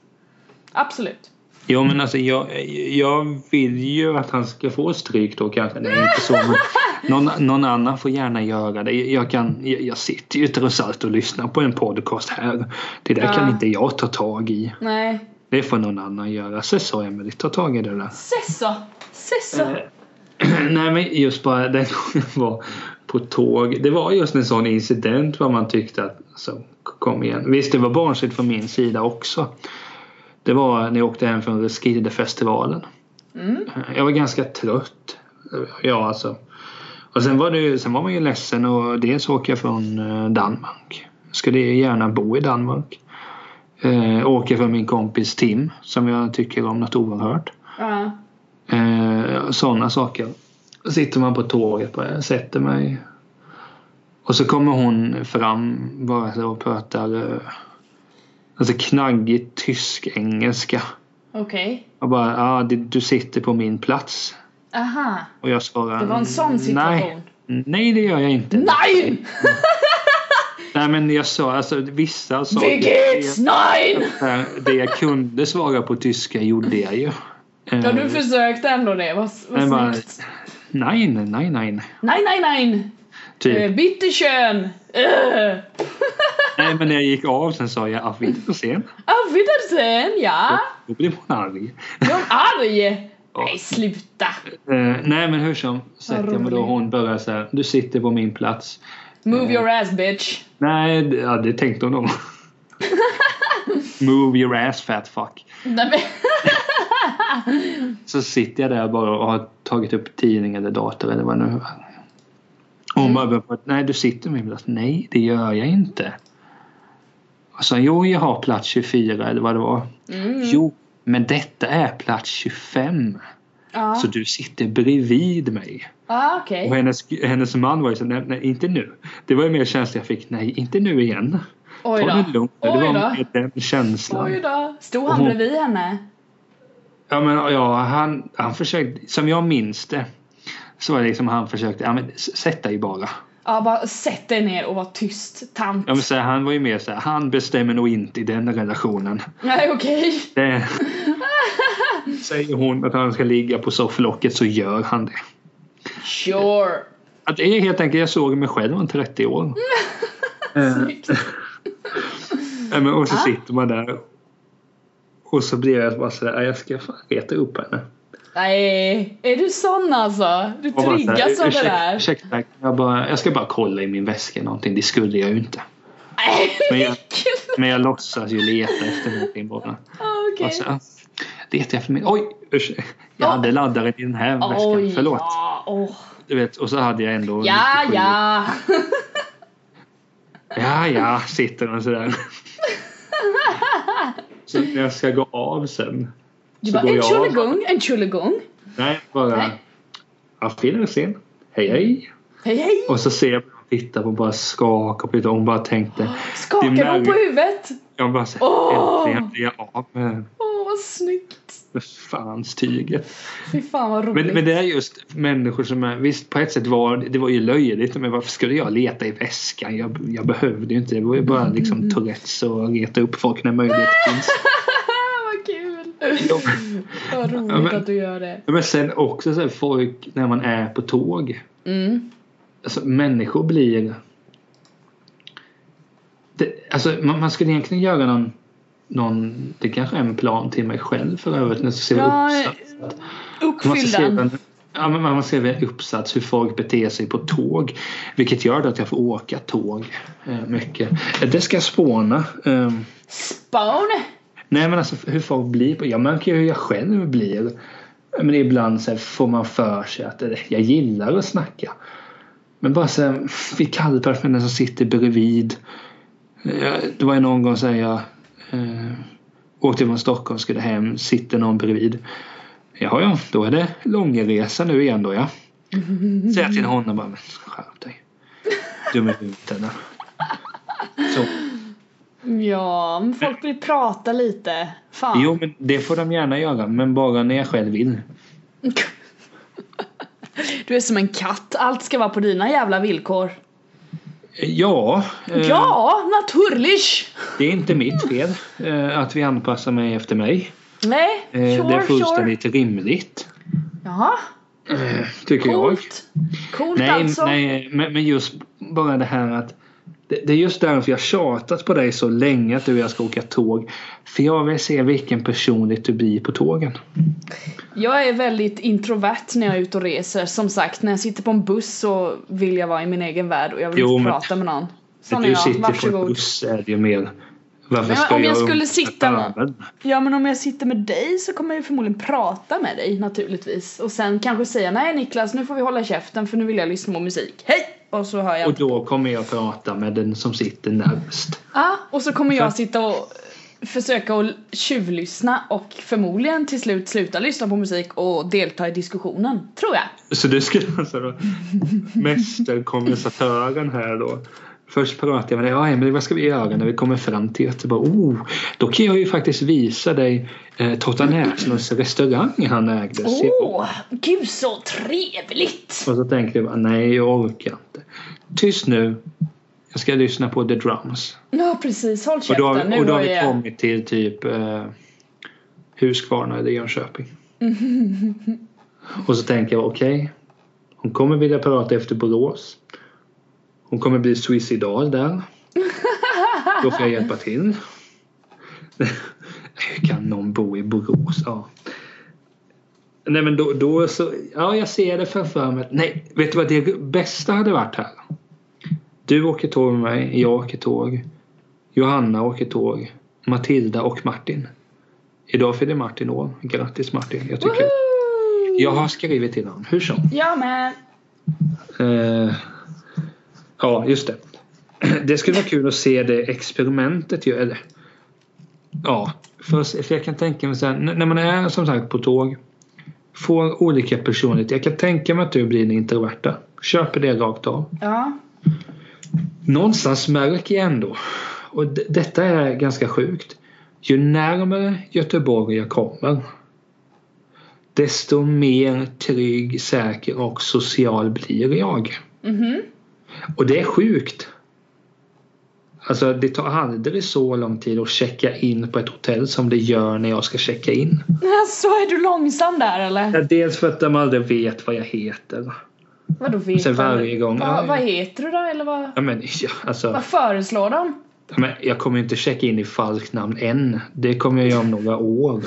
Speaker 2: Absolut.
Speaker 1: Jo men alltså jag, jag vill ju att han ska få stryk då kanske. Det är inte så. Men någon, någon annan får gärna göra det. Jag, kan, jag, jag sitter ju trots allt och lyssnar på en podcast här. Det där kan
Speaker 2: Ja.
Speaker 1: inte jag ta tag i.
Speaker 2: Nej.
Speaker 1: Det får någon annan göra. Så sa Emelie, ta tag i det där.
Speaker 2: Sesso! Sesso!
Speaker 1: Nej men just bara den gången var på tåg. Det var just en sån incident vad man tyckte att så kom igen. Visst det var barnsligt från min sida också. Det var när jag åkte hem från Roskildefestivalen.
Speaker 2: Mm.
Speaker 1: Jag var ganska trött. Ja alltså. Och sen var, det, ju- sen var man ju ledsen och dels åker jag från eh, Danmark. Skulle ju gärna bo i Danmark. Eh, åker för min kompis Tim som jag tycker om något oerhört.
Speaker 2: Ja.
Speaker 1: Eh, Sådana saker. Sitter man på tåget, bara, sätter mig. Och så kommer hon fram bara så och pratar eh, alltså knaggigt tysk-engelska.
Speaker 2: Okej.
Speaker 1: Och bara ah, det- du sitter på min plats.
Speaker 2: Aha.
Speaker 1: Och jag svarar
Speaker 2: Det var en sån situation.
Speaker 1: Mm, Nej, nej det gör jag inte.
Speaker 2: Nein!
Speaker 1: Nej men jag sa alltså vissa saker.
Speaker 2: Vilket? Nein!
Speaker 1: Eh, Det jag kunde svara på tyska gjorde jag ju. Eh,
Speaker 2: Ja, du försökte ändå det. Vad, vad
Speaker 1: men bara,
Speaker 2: snyggt.
Speaker 1: nej, nej, nej, nej.
Speaker 2: Nej, nej, nej!
Speaker 1: Typ.
Speaker 2: Äh, bitte schön! Äh.
Speaker 1: Nej men när jag gick av sen sa jag "Ah, auf Wiedersehen.
Speaker 2: Auf Wiedersehen, ja!
Speaker 1: Då blev hon arg.
Speaker 2: Jag är arg!
Speaker 1: Ja.
Speaker 2: Nej, sluta!
Speaker 1: Eh, nej men hur som sätter jag mig då
Speaker 2: roligt.
Speaker 1: hon börjar så här. Du sitter på min plats.
Speaker 2: Move your ass bitch!
Speaker 1: Nej, det- ja, det tänkte hon om. Move your ass fat fuck.
Speaker 2: Nej, men,
Speaker 1: Så sitter jag där bara och har tagit upp tidning eller dator eller vad det nu var. Och
Speaker 2: Mm.
Speaker 1: hon bara börjar på att nej du sitter på min plats. Nej det gör jag inte. Och så jo jag har plats 24 eller vad det var.
Speaker 2: Mm.
Speaker 1: Jo Men detta är plats 25.
Speaker 2: Ja.
Speaker 1: Så du sitter bredvid mig.
Speaker 2: Ah, okej.
Speaker 1: Och hennes, hennes man var ju så nej, nej inte nu. Det var ju mer känslan jag fick, nej inte nu igen.
Speaker 2: Oj
Speaker 1: Ta det
Speaker 2: då.
Speaker 1: lugnt nu. Det
Speaker 2: Oj
Speaker 1: var
Speaker 2: då.
Speaker 1: mer den känslan.
Speaker 2: Oj då. Stod han
Speaker 1: hon-
Speaker 2: bredvid henne?
Speaker 1: Ja, men, ja han, han försökte, som jag minns det. Så var det liksom han försökte, ja men s- sätt dig bara.
Speaker 2: Ja, bara sätt dig ner och var tyst, tant.
Speaker 1: Ja, men, så här, han var ju mer så här, han bestämmer nog inte i den relationen.
Speaker 2: Nej, okej.
Speaker 1: Det, säger hon att han ska ligga på sofflocket så gör han det.
Speaker 2: Sure.
Speaker 1: Att det är helt enkelt, jag såg mig själv om 30 år. Eh,
Speaker 2: Snyggt.
Speaker 1: nej, men, och så
Speaker 2: Ah.
Speaker 1: sitter man där. Och så blir jag bara sådär, jag ska fan reta upp henne.
Speaker 2: Nej, är du sån alltså? Du
Speaker 1: Och bara så här,
Speaker 2: triggas av det
Speaker 1: "Ursäkta-
Speaker 2: där.
Speaker 1: Ursäkta, jag, bara, jag ska bara kolla i min väska någonting. Det skulle jag ju inte.
Speaker 2: Nej,
Speaker 1: Men jag-
Speaker 2: Mikael.
Speaker 1: Men jag låtsas ju leta efter någonting bara.
Speaker 2: Ah, Okej.
Speaker 1: Alltså, ah, letar jag för min... Oj! ursäkta. Jag
Speaker 2: Ja.
Speaker 1: hade laddaren i den här väskan.
Speaker 2: Oj,
Speaker 1: Förlåt.
Speaker 2: ja. åh.
Speaker 1: Du vet, och så hade jag ändå...
Speaker 2: Ja,
Speaker 1: 97.
Speaker 2: ja.
Speaker 1: Ja, ja, sitter hon sådär. så när jag ska gå av sen.
Speaker 2: Du
Speaker 1: Så
Speaker 2: bara,
Speaker 1: går
Speaker 2: en
Speaker 1: jag av.
Speaker 2: tjollegång, en tjollegång.
Speaker 1: Nej, bara...
Speaker 2: Nej.
Speaker 1: Auf Wiedersehen. Hej, hej.
Speaker 2: Hej, hej.
Speaker 1: Och så ser jag hon tittar på och bara skakar på huvudet. Hon bara tänkte... det
Speaker 2: Skakar
Speaker 1: är
Speaker 2: hon på
Speaker 1: Mary.
Speaker 2: huvudet?
Speaker 1: Jag bara så
Speaker 2: Åh!
Speaker 1: här, Äntligen blir jag av med,
Speaker 2: Åh, vad snyggt.
Speaker 1: med fans tyget.
Speaker 2: Fy fan vad roligt.
Speaker 1: Men, men det är just människor som är, visst på ett sätt var det var ju löjligt men varför skulle jag leta i väskan? Jag, jag behövde ju inte det. var ju bara
Speaker 2: Mm.
Speaker 1: liksom Tourettes och reta upp folk när möjlighet finns.
Speaker 2: vad kul.
Speaker 1: Ja.
Speaker 2: Vad roligt
Speaker 1: Ja, men-
Speaker 2: att du gör det.
Speaker 1: Men sen också så här, folk när man är på tåg.
Speaker 2: Mm.
Speaker 1: Alltså människor blir... Det, alltså man, man skulle egentligen göra någon, någon... Det kanske är en plan till mig själv för övrigt. När jag ska skriva
Speaker 2: Ja,
Speaker 1: uppsats. Man ska
Speaker 2: Uppfylld
Speaker 1: skriva
Speaker 2: den.
Speaker 1: en, ja, men man ser en uppsats hur folk beter sig på tåg. Vilket gör då att jag får åka tåg eh, mycket. Eh, Det ska jag spåna. Eh,
Speaker 2: Spawn.
Speaker 1: nej men alltså hur folk blir. På, jag märker ju hur jag själv blir. Eh, Men ibland så här, får man för sig att eh, jag gillar att snacka. Men bara så här, vi kallar för den som sitter bredvid. Eh, det var ju någon gång så här, jag eh, åkte från Stockholm skulle hem. Sitter någon bredvid. Jaha ja, då är det långresa nu igen då ja. Säger jag till honom bara, men skärp dig. Dum i huvudet eller? Så,
Speaker 2: Ja, men folk vill prata lite. Fan.
Speaker 1: jo men det får de gärna göra, men bara när jag själv vill.
Speaker 2: Du är som en katt. Allt ska vara på dina jävla villkor.
Speaker 1: Eh. Ja, eh,
Speaker 2: Ja, naturligt.
Speaker 1: det är inte mitt fel eh, att vi anpassar mig efter mig.
Speaker 2: Nej,
Speaker 1: Eh, det är
Speaker 2: sure, sure.
Speaker 1: fullständigt rimligt,
Speaker 2: Jaha,
Speaker 1: tycker jag.
Speaker 2: coolt. Coolt
Speaker 1: Nej,
Speaker 2: alltså.
Speaker 1: nej men, men just bara det här att det, det är just därför jag tjatat på dig så länge att du och jag ska åka tåg. För jag vill se vilken personlighet du blir på tågen.
Speaker 2: Jag är väldigt introvert när jag är ute och reser. Som sagt, när jag sitter på en buss så vill jag vvara i min egen värld och jag vill
Speaker 1: Jo,
Speaker 2: inte
Speaker 1: men-
Speaker 2: prata med någon.
Speaker 1: När
Speaker 2: Sån är
Speaker 1: du
Speaker 2: jag,
Speaker 1: sitter på en
Speaker 2: varsågod.
Speaker 1: buss är det ju mer... Varför
Speaker 2: Men
Speaker 1: ska
Speaker 2: om jag
Speaker 1: jag
Speaker 2: skulle
Speaker 1: umgås med
Speaker 2: sitta-
Speaker 1: världen?
Speaker 2: Ja men om jag sitter med dig så kommer jag ju förmodligen prata med dig naturligtvis. Och sen kanske säga nej Niklas nu får vi hålla käften för nu vill jag lyssna på musik. Hej! Och så hör jag
Speaker 1: Och då kommer jag prata med den som sitter närmast.
Speaker 2: Ja, och så kommer jag
Speaker 1: Så-
Speaker 2: sitta och försöka att tjuvlyssna och förmodligen till slut sluta lyssna på musik och delta i diskussionen, tror jag.
Speaker 1: Så du skulle alltså då... Mästerkompensatören här då. Först pratar jag med dig. Ja, Emelie, vad ska vi göra när vi kommer fram till Göteborg? Oh, då kan jag ju faktiskt visa dig eh, Totta Näslunds restaurang han ägde. Se-
Speaker 2: Åh, gud så trevligt!
Speaker 1: Och så tänker jag bara, nej jag orkar inte. Tyst nu. Jag ska lyssna på The Drums.
Speaker 2: Ja precis, håll
Speaker 1: Och
Speaker 2: käften.
Speaker 1: då har,
Speaker 2: nu
Speaker 1: och då har
Speaker 2: har
Speaker 1: vi
Speaker 2: jag...
Speaker 1: kommit till typ eh, Huskvarna eller Jönköping. och så tänker jag okej. hon kommer vilja prata efter Borås. Hon kommer bli suicidal där. då får jag hjälpa till. Hur kan någon bo i Borås? Ja. Nej men då, då så, ja jag ser det framför mig. Nej, vet du vad det bästa hade varit här? Du åker tåg med mig, jag åker tåg. Johanna åker tåg. Matilda och Martin. Idag fyller Martin år. Grattis Martin. Jag, tycker,
Speaker 2: Woho!
Speaker 1: jag har skrivit till honom. Hur som.
Speaker 2: Ja men,
Speaker 1: Eh, ja, just det. Det skulle vara kul att se det experimentet. ju, Eller, ja, för, för jag kan tänka mig så här, n- när man är som sagt på tåg får olika personlighet. Jag kan tänka mig att du blir den introverta. Köper det rakt av.
Speaker 2: Ja.
Speaker 1: Någonstans märker jag ändå, och d- detta är ganska sjukt, ju närmare Göteborg jag kommer desto mer trygg, säker och social blir jag.
Speaker 2: Mhm.
Speaker 1: Och det är sjukt. Alltså det tar aldrig så lång tid att checka in på ett hotell som det gör när jag ska checka in.
Speaker 2: Så är du långsam där eller?
Speaker 1: Ja, Dels för att de aldrig vet vad jag heter.
Speaker 2: Vadå vet
Speaker 1: Sen
Speaker 2: du?
Speaker 1: varje gång.
Speaker 2: Va, vad heter du då eller vad?
Speaker 1: Ja, men, ja, alltså,
Speaker 2: Vad föreslår de?
Speaker 1: ja, men, jag kommer ju inte checka in i falskt namn än. Det kommer jag göra om några år.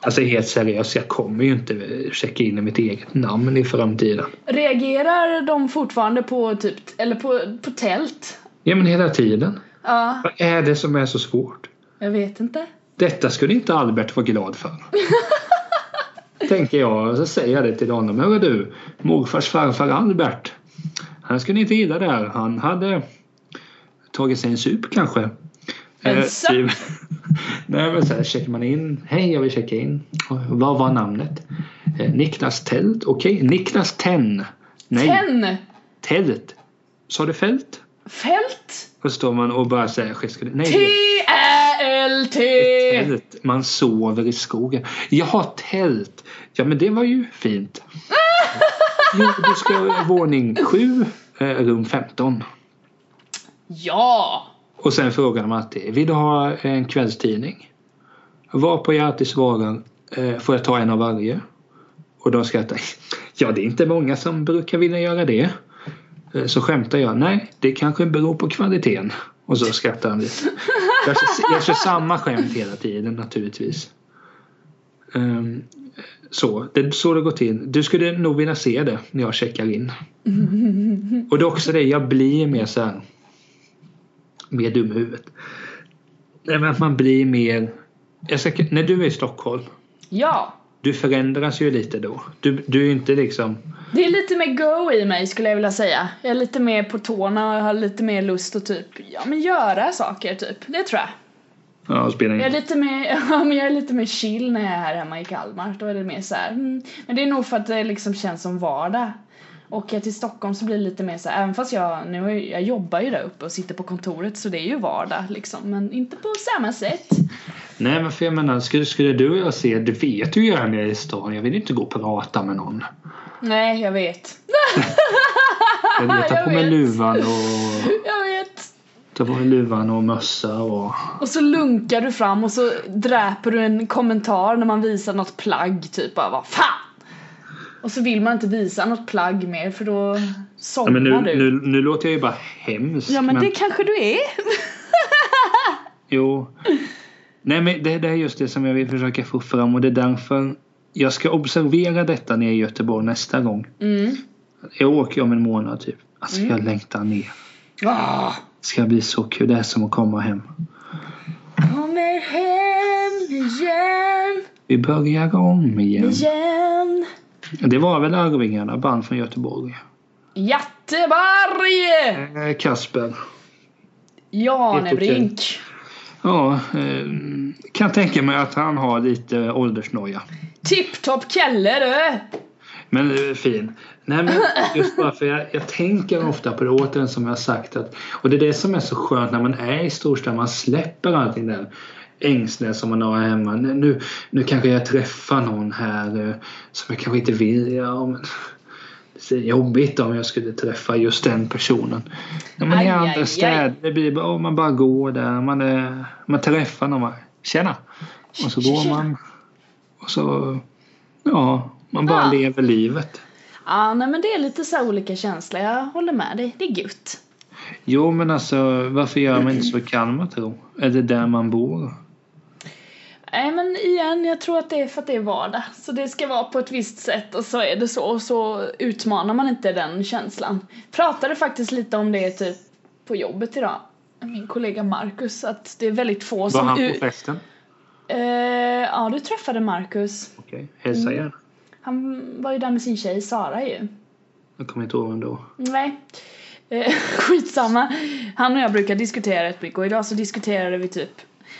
Speaker 1: Alltså helt seriöst, jag kommer ju inte checka in i mitt eget namn i framtiden.
Speaker 2: Reagerar de fortfarande på typ, eller på, på tält?
Speaker 1: Ja men hela tiden.
Speaker 2: Ja,
Speaker 1: Vad är det som är så svårt?
Speaker 2: jag vet inte.
Speaker 1: Detta skulle inte Albert vara glad för. Tänker jag och så säger jag det till honom. Hörru du, morfars farfar Albert. Han skulle inte gilla det här. Han hade tagit sig en sup kanske.
Speaker 2: En
Speaker 1: Eh,
Speaker 2: sup?
Speaker 1: typ. Nej men så här checkar man in. Hej jag vill checka in. Vad var namnet? Eh, Niklas Tält? Okej, Niklas Tenn. Nej,
Speaker 2: Ten!
Speaker 1: Tält. Sa du fält?
Speaker 2: Fält!
Speaker 1: Och så står man och bara säger. "Ska du-" Nej, det är
Speaker 2: T-Ä-L-T!
Speaker 1: Tält. Man sover i skogen. Jag har tält. Ja men det var ju fint. Jo, du ska våning 7, rum 15.
Speaker 2: Ja!
Speaker 1: Och sen frågar man alltid, vill du ha en kvällstidning? Varpå jag alltid svarar, "Eh, får jag ta en av varje? Och de skrattar, ja det är inte många som brukar vilja göra det. Eh, Så skämtar jag, nej det kanske beror på kvaliteten. Och så skrattar han lite. Jag kör, jag kör samma skämt hela tiden naturligtvis. Ehm, så, det är så det går till. Du skulle nog vilja se det när jag checkar in. Och det är också det, jag blir mer så här mer dum i huvudet. Nej, men att man blir mer... Jag ska, när du är i Stockholm,
Speaker 2: Ja!
Speaker 1: du förändras ju lite då. Du, du är inte liksom...
Speaker 2: Det är lite mer go i mig skulle jag vilja säga. Jag är lite mer på tårna och har lite mer lust att typ, ja men göra saker typ. Det tror jag.
Speaker 1: Ja, spelar
Speaker 2: Jag är
Speaker 1: ingen
Speaker 2: lite mer, ja, men jag är lite mer chill när jag är här hemma i Kalmar. Då är det mer så här, mm. Men det är nog för att det liksom känns som vardag. Åker jag till Stockholm så blir det lite mer så här, även fast jag, nu har ju- jag jobbar ju där uppe och sitter på kontoret så det är ju vardag liksom. Men inte på samma sätt.
Speaker 1: Nej, men för jag menar, skulle, skulle du och jag se, det vet ju jag när jag är i stan. Jag vill inte gå och prata med någon.
Speaker 2: Nej, jag vet.
Speaker 1: Jag vill ta
Speaker 2: Jag
Speaker 1: på mig
Speaker 2: vet.
Speaker 1: luvan och
Speaker 2: Jag vet.
Speaker 1: ta på mig luvan och mössa och...
Speaker 2: Och så lunkar du fram och så dräper du en kommentar när man visar något plagg typ av vad fan! Och så vill man inte visa något plagg mer för då
Speaker 1: Ja,
Speaker 2: somnar
Speaker 1: men nu, nu,
Speaker 2: du.
Speaker 1: nu låter jag ju bara hemsk.
Speaker 2: ja men, det kanske du är.
Speaker 1: Jo. Nej men det, det är just det som jag vill försöka få fram och det är därför jag ska observera detta när jag är i Göteborg nästa gång.
Speaker 2: Mm.
Speaker 1: Jag åker om en månad typ. Alltså jag längtar ner.
Speaker 2: Ah.
Speaker 1: Det ska bli så kul. Det är som att komma hem.
Speaker 2: Kommer hem igen,
Speaker 1: Vi börjar om igen.
Speaker 2: igen.
Speaker 1: Det var väl Arvingarna, band från Göteborg.
Speaker 2: Göteborg!
Speaker 1: Eh, Kasper.
Speaker 2: Jane
Speaker 1: Helt okej.
Speaker 2: Brink.
Speaker 1: Ja, eh, kan tänka mig att han har lite åldersnoja.
Speaker 2: Tipptopp Kelle du!
Speaker 1: Men eh, fin. Nej men just bara för jag, jag tänker ofta på det återigen som jag sagt att och det är det som är så skönt när man är i storstad, man släpper allting där ängsliga som man har hemma. Nu- Nu, nu kanske jag träffar någon här eh, som jag kanske inte vill. Ja, men, det är jobbigt om jag skulle träffa just den personen. När man
Speaker 2: Aj,
Speaker 1: är i
Speaker 2: aj,
Speaker 1: andra
Speaker 2: aj.
Speaker 1: städer, det blir bara, oh, man bara går där, man, är, man träffar någon. bara, Tjena! Och så går
Speaker 2: Tjena.
Speaker 1: man. Och så, ja, man bara
Speaker 2: Ja.
Speaker 1: lever livet.
Speaker 2: Ja, nej men det är lite så här olika känslor. Jag håller med dig. Det är gött.
Speaker 1: Jo men alltså varför gör man inte så i Kalmar tro? Eller där man bor?
Speaker 2: Nej men igen, jag tror att det är för att det är vardag. Så det ska vara på ett visst sätt och så är det så och så utmanar man inte den känslan. Pratade faktiskt lite om det typ på jobbet idag. Min kollega Marcus, att det är väldigt få
Speaker 1: Var
Speaker 2: som...
Speaker 1: han
Speaker 2: u-
Speaker 1: på festen?
Speaker 2: eh, ja, du träffade Marcus.
Speaker 1: Okej, hälsa gärna.
Speaker 2: Han var ju där med sin tjej Sara ju.
Speaker 1: Jag kommer inte ihåg ändå.
Speaker 2: Nej. Eh, skitsamma. Han och jag brukar diskutera ett mycket och idag så diskuterade vi typ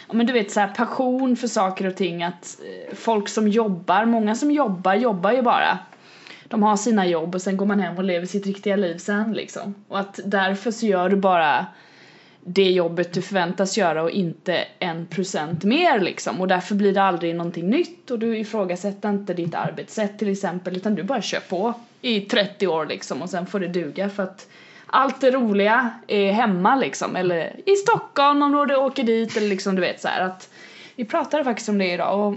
Speaker 2: ja, men du vet så här, passion för saker och ting att eh, folk som jobbar, många som jobbar jobbar ju bara. De har sina jobb och sen går man hem och lever sitt riktiga liv sen liksom. Och att därför så gör du bara det jobbet du förväntas göra och inte en procent mer liksom. Och därför blir det aldrig någonting nytt och du ifrågasätter inte ditt arbetssätt till exempel utan du bara kör på i 30 år liksom och sen får det duga för att allt det roliga är hemma liksom eller i Stockholm om du åker dit eller liksom du vet så här att vi pratade faktiskt om det idag och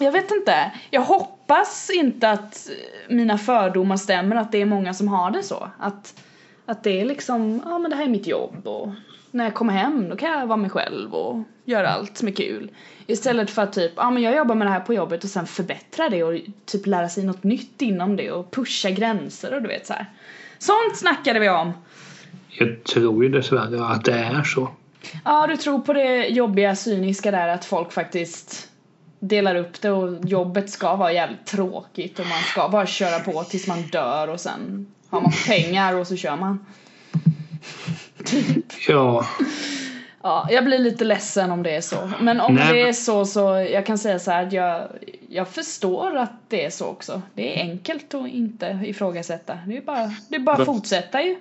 Speaker 2: jag vet inte, jag hoppas inte att mina fördomar stämmer att det är många som har det så att att det är liksom, ja men det här är mitt jobb och när jag kommer hem då kan jag vara mig själv och göra allt som är kul. Istället för att typ, ja men jag jobbar med det här på jobbet och sen förbättra det och typ lära sig något nytt inom det och pusha gränser och du vet så här. Sånt snackade vi om.
Speaker 1: Jag tror ju dessvärre att det är så.
Speaker 2: Ja, du tror på det jobbiga cyniska där att folk faktiskt delar upp det och jobbet ska vara jävligt tråkigt och man ska bara köra på tills man dör och sen har man pengar och så kör man.
Speaker 1: Ja,
Speaker 2: Ja, jag blir lite ledsen om det är så. Men om
Speaker 1: Nej,
Speaker 2: det
Speaker 1: men-
Speaker 2: är så så, jag kan säga så här att jag, jag förstår att det är så också. Det är enkelt att inte ifrågasätta. Det är bara, det är bara att
Speaker 1: Va-
Speaker 2: fortsätta ju.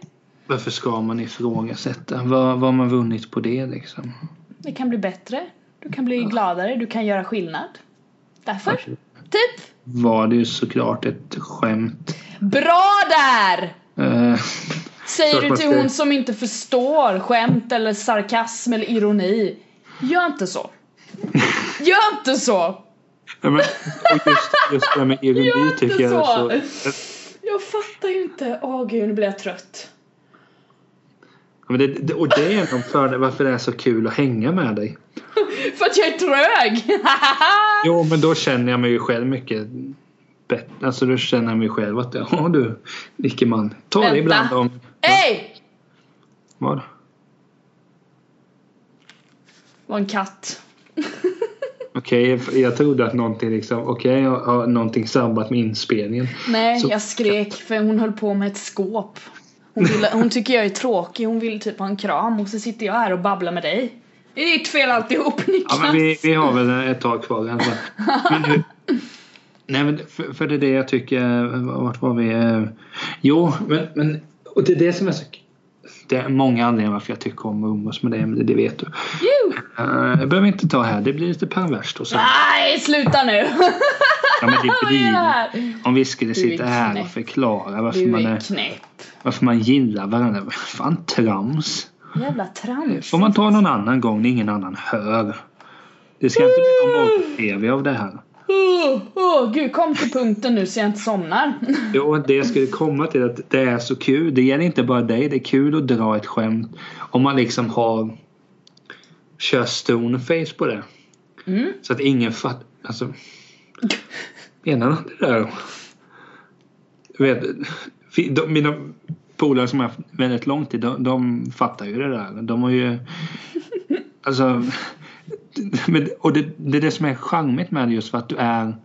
Speaker 1: varför ska man ifrågasätta? Vad, vad har man vunnit på det liksom?
Speaker 2: Det kan bli bättre. Du kan bli gladare. Du kan göra skillnad. Därför. Typ.
Speaker 1: Var det ju såklart ett skämt.
Speaker 2: Bra där!
Speaker 1: Eh,
Speaker 2: Säger
Speaker 1: Klart
Speaker 2: du
Speaker 1: man
Speaker 2: till
Speaker 1: ska-
Speaker 2: hon som inte förstår skämt eller sarkasm eller ironi. Gör inte så. Gör inte så!
Speaker 1: nej, men, och just, just det här med
Speaker 2: Gör
Speaker 1: ironi
Speaker 2: inte
Speaker 1: tycker jag
Speaker 2: så.
Speaker 1: är så...
Speaker 2: Jag fattar ju inte. Åh gud, nu blir jag trött.
Speaker 1: Ja, Men det, det, och det är en för varför det är så kul att hänga med dig.
Speaker 2: För att jag är trög!
Speaker 1: Jo, men då känner jag mig ju själv mycket bättre. Alltså då känner jag mig själv att ja du, Nickeman. Ta det
Speaker 2: Vänta.
Speaker 1: ibland om...
Speaker 2: Hej!
Speaker 1: Vad?
Speaker 2: var en katt.
Speaker 1: Okej, jag trodde att någonting liksom... Okej, jag har någonting sabbat med inspelningen.
Speaker 2: Nej,
Speaker 1: Så-
Speaker 2: jag skrek för hon höll på med ett skåp. Hon, ville, hon tycker jag är tråkig, hon vill typ ha en kram och så sitter jag här och babblar med dig. Det är ditt fel alltihop
Speaker 1: Ja,
Speaker 2: Niklas.
Speaker 1: men vi, vi har väl ett tag kvar i alla fall. Men hur, nej, men för, för det är det jag tycker... Vart var vi? Eh, Jo, men, men... Och det är det som är så... Det är många anledningar varför jag tycker om att umgås med dig, men det, det vet du.
Speaker 2: Ju!
Speaker 1: Eh, Jag behöver inte ta här, det blir lite perverst och så.
Speaker 2: Nej, sluta nu!
Speaker 1: Ja, men det
Speaker 2: Vad är det
Speaker 1: blir,
Speaker 2: här?
Speaker 1: om vi skulle
Speaker 2: Du är
Speaker 1: sitta här och
Speaker 2: knäpp.
Speaker 1: förklara varför man,
Speaker 2: Du är
Speaker 1: är,
Speaker 2: knäpp.
Speaker 1: varför man gillar varandra. Fan trams.
Speaker 2: Jävla trams.
Speaker 1: Får man ta någon annan gång när ingen annan hör. Det ska inte bli någon våld-tv av det här.
Speaker 2: Åh, åh, gud, kom till punkten nu så jag inte somnar.
Speaker 1: Jo, det jag skulle komma till är att det är så kul. Det gäller inte bara dig. Det är kul att dra ett skämt. Om man liksom har... Kör stoneface på det.
Speaker 2: Mm.
Speaker 1: Så att ingen fattar. Alltså... Menar han det där? Jag vet, fi- de, mina polare som har haft väldigt lång tid, de, de fattar ju det där. De har ju... Alltså... men- Och det, det är det som är charmigt med det just för att du är...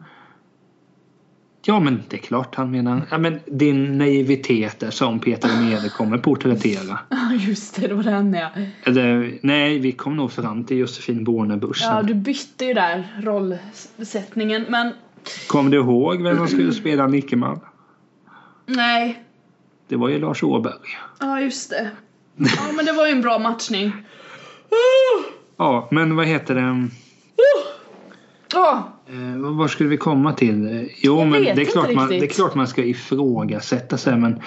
Speaker 1: Ja men det är klart han menar. Ja, men din naivitet är som Peter Mede kommer porträttera.
Speaker 2: Ja, Just det, det var den ja.
Speaker 1: Eller nej, vi kom nog fram till Josefin Bornebusch.
Speaker 2: Ja, du bytte ju där rollsättningen, men
Speaker 1: Kommer du ihåg vem som skulle spela Nickeman?
Speaker 2: nej.
Speaker 1: Det var ju Lars Åberg.
Speaker 2: Ja, just det. Ja, men det var ju en bra matchning.
Speaker 1: Ah!
Speaker 2: Åh,
Speaker 1: Ja, men vad heter det?
Speaker 2: åh,
Speaker 1: Eh, var skulle vi komma till? Eh, Jo,
Speaker 2: Jag
Speaker 1: men
Speaker 2: vet
Speaker 1: det är,
Speaker 2: inte
Speaker 1: klart man,
Speaker 2: riktigt.
Speaker 1: det är klart man ska ifrågasätta sig, men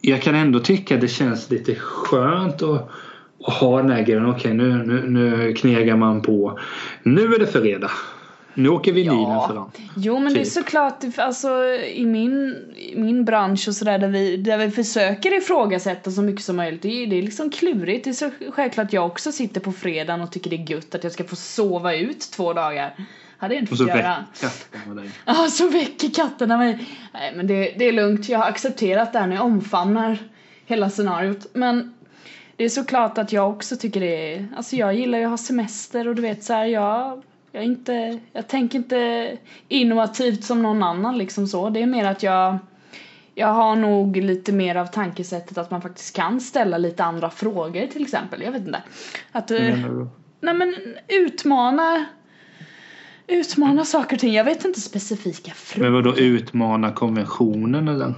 Speaker 1: jag kan ändå tycka det känns lite skönt att, att ha den här grejen. Okej, nu, nu, nu knegar man på. Nu är det fredag. Nu åker vinylen
Speaker 2: Ja.
Speaker 1: fram.
Speaker 2: Jo, men det är
Speaker 1: Typ.
Speaker 2: såklart, alltså i min, i min bransch och sådär där vi, där vi försöker ifrågasätta så mycket som möjligt. Det är, det är liksom klurigt. Det är så självklart jag också sitter på fredagen och tycker det är gött att jag ska få sova ut två dagar. Hade jag inte
Speaker 1: Och så
Speaker 2: fått
Speaker 1: väcker
Speaker 2: göra.
Speaker 1: katten med dig.
Speaker 2: Ja, så väcker katterna mig. Nej, men det, det är lugnt. Jag har accepterat det här nu. Jag omfamnar hela scenariot. Men det är såklart att jag också tycker det är... Alltså jag gillar ju att ha semester och du vet så här, jag... Jag, är inte, jag tänker inte innovativt som någon annan liksom så. Det är mer att jag... Jag har nog lite mer av
Speaker 1: Mm.
Speaker 2: tankesättet att man faktiskt kan ställa lite andra frågor till exempel. Jag vet inte. Att, eh,
Speaker 1: Menar du?
Speaker 2: nej men utmana Utmana saker och ting. Jag vet inte specifika frågor.
Speaker 1: Men vadå utmana konventionen eller?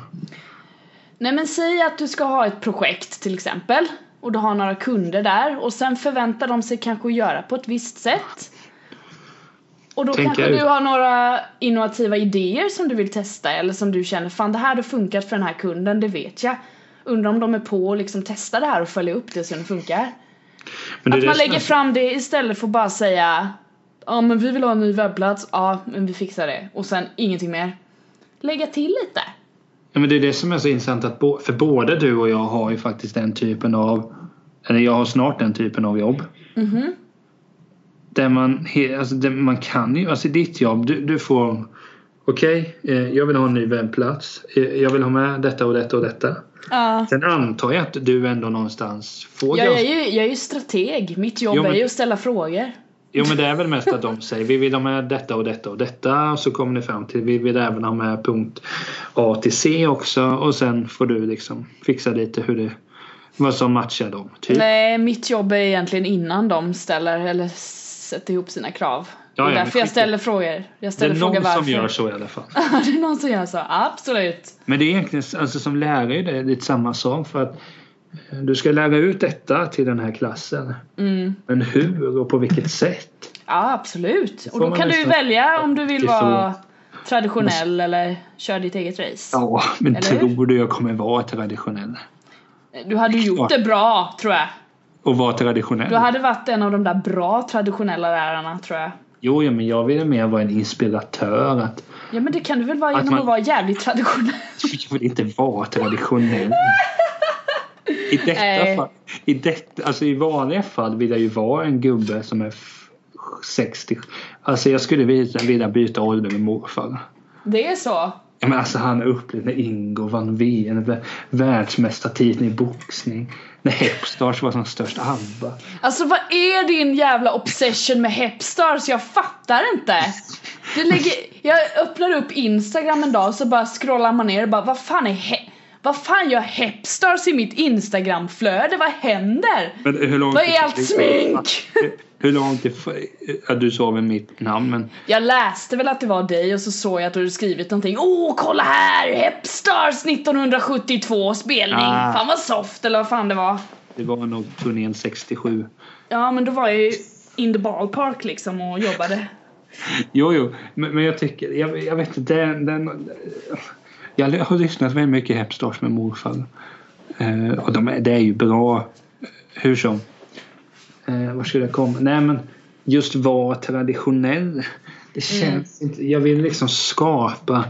Speaker 2: Nej men säg att du ska ha ett projekt till exempel och du har några kunder där och sen förväntar de sig kanske att göra på ett visst sätt. Och då
Speaker 1: Tänker
Speaker 2: kanske
Speaker 1: ut.
Speaker 2: du har några innovativa idéer som du vill testa eller som du känner fan det här har funkat för den här kunden, det vet jag. Undrar om de är på och liksom testa det här och följa upp det så det funkar.
Speaker 1: Men det är
Speaker 2: Att man
Speaker 1: det som
Speaker 2: lägger
Speaker 1: är-
Speaker 2: fram det istället för att bara säga Ja men vi vill ha en ny webbplats, ja men vi fixar det och sen ingenting mer. Lägga till lite.
Speaker 1: Ja, men det är det som är så intressant att bo- för både du och jag har ju faktiskt den typen av eller jag har snart den typen av jobb.
Speaker 2: Mhm.
Speaker 1: Där man, he- alltså, där man kan ju, alltså i ditt jobb, du, du får Okej, eh, jag vill ha en ny webbplats. Eh, jag vill ha med detta och detta och detta.
Speaker 2: Ja.
Speaker 1: Sen antar jag att du ändå någonstans får
Speaker 2: Jag är,
Speaker 1: granska.
Speaker 2: ju, jag är ju strateg, mitt jobb
Speaker 1: Jo, men-
Speaker 2: är ju att ställa frågor.
Speaker 1: Jo men det är väl mest att de säger vi vill ha med detta och detta och detta och så kommer ni fram till vi vill även ha med punkt A till C också och sen får du liksom fixa lite hur det vad som matchar dem. Typ.
Speaker 2: Nej, mitt jobb är egentligen innan de ställer eller sätter ihop sina krav.
Speaker 1: Ja,
Speaker 2: det är
Speaker 1: ja, men
Speaker 2: därför jag
Speaker 1: skit i-
Speaker 2: ställer frågor. Jag
Speaker 1: det är
Speaker 2: ställer frågor
Speaker 1: någon
Speaker 2: varför.
Speaker 1: som gör så i alla fall.
Speaker 2: Ja, det är någon som gör så, absolut.
Speaker 1: Men det är egentligen alltså som lärare det är lite samma sak för att eh, du ska lära ut detta till den här klassen.
Speaker 2: Mm.
Speaker 1: Men hur och på vilket sätt?
Speaker 2: Ja, absolut. Och
Speaker 1: får
Speaker 2: då
Speaker 1: man
Speaker 2: kan du
Speaker 1: nästan-
Speaker 2: välja om du vill
Speaker 1: Det är så.
Speaker 2: vara traditionell eller köra ditt eget race.
Speaker 1: Ja, men
Speaker 2: Eller hur?
Speaker 1: tror du jag kommer vara traditionell?
Speaker 2: Du hade ju gjort det bra, tror jag.
Speaker 1: Och vara traditionell?
Speaker 2: Du hade varit en av de där bra traditionella lärarna, tror jag.
Speaker 1: Jo, ja, men jag vill mer vara en inspiratör. Att
Speaker 2: Ja, men det kan du väl vara
Speaker 1: Att
Speaker 2: genom
Speaker 1: man-
Speaker 2: att vara jävligt traditionell?
Speaker 1: Jag vill inte vara traditionell. I detta
Speaker 2: Nej.
Speaker 1: fall, i, detta, alltså i vanliga fall vill jag ju vara en gubbe som är f- 60. Alltså jag skulle vilja, vilja byta ålder med morfar.
Speaker 2: Det är så.
Speaker 1: Ja, men alltså han upplevde när Ingo vann VM, vä- världsmästartiteln i boxning. När Hepstars var som störst ABBA.
Speaker 2: Alltså vad är din jävla obsession med Hepstars? Jag fattar inte! Det ligger, jag öppnar upp instagram en dag så bara scrollar man ner och bara vad fan är he- vad fan gör Hepstars i mitt instagramflöde? Vad händer?
Speaker 1: Men hur långt
Speaker 2: Vad är allt smink?
Speaker 1: Hur långt det, ja, du sa väl mitt namn men
Speaker 2: Jag läste väl att det var dig och så såg jag att du hade skrivit någonting Åh kolla här! Hepstars 1972 spelning!
Speaker 1: Ah.
Speaker 2: Fan vad soft eller vad fan det var
Speaker 1: det var nog turnén 67.
Speaker 2: Ja men då var jag ju in the ballpark liksom och jobbade
Speaker 1: Jo, jo, men, men jag tycker, jag, jag vet inte, den, den, jag har lyssnat väldigt mycket Hepstars med morfar. Eh, och de, är- det är ju bra, hur som. Eh, var skulle jag komma? Nej, men just vara traditionell. Det
Speaker 2: Mm.
Speaker 1: känns inte, jag vill liksom skapa,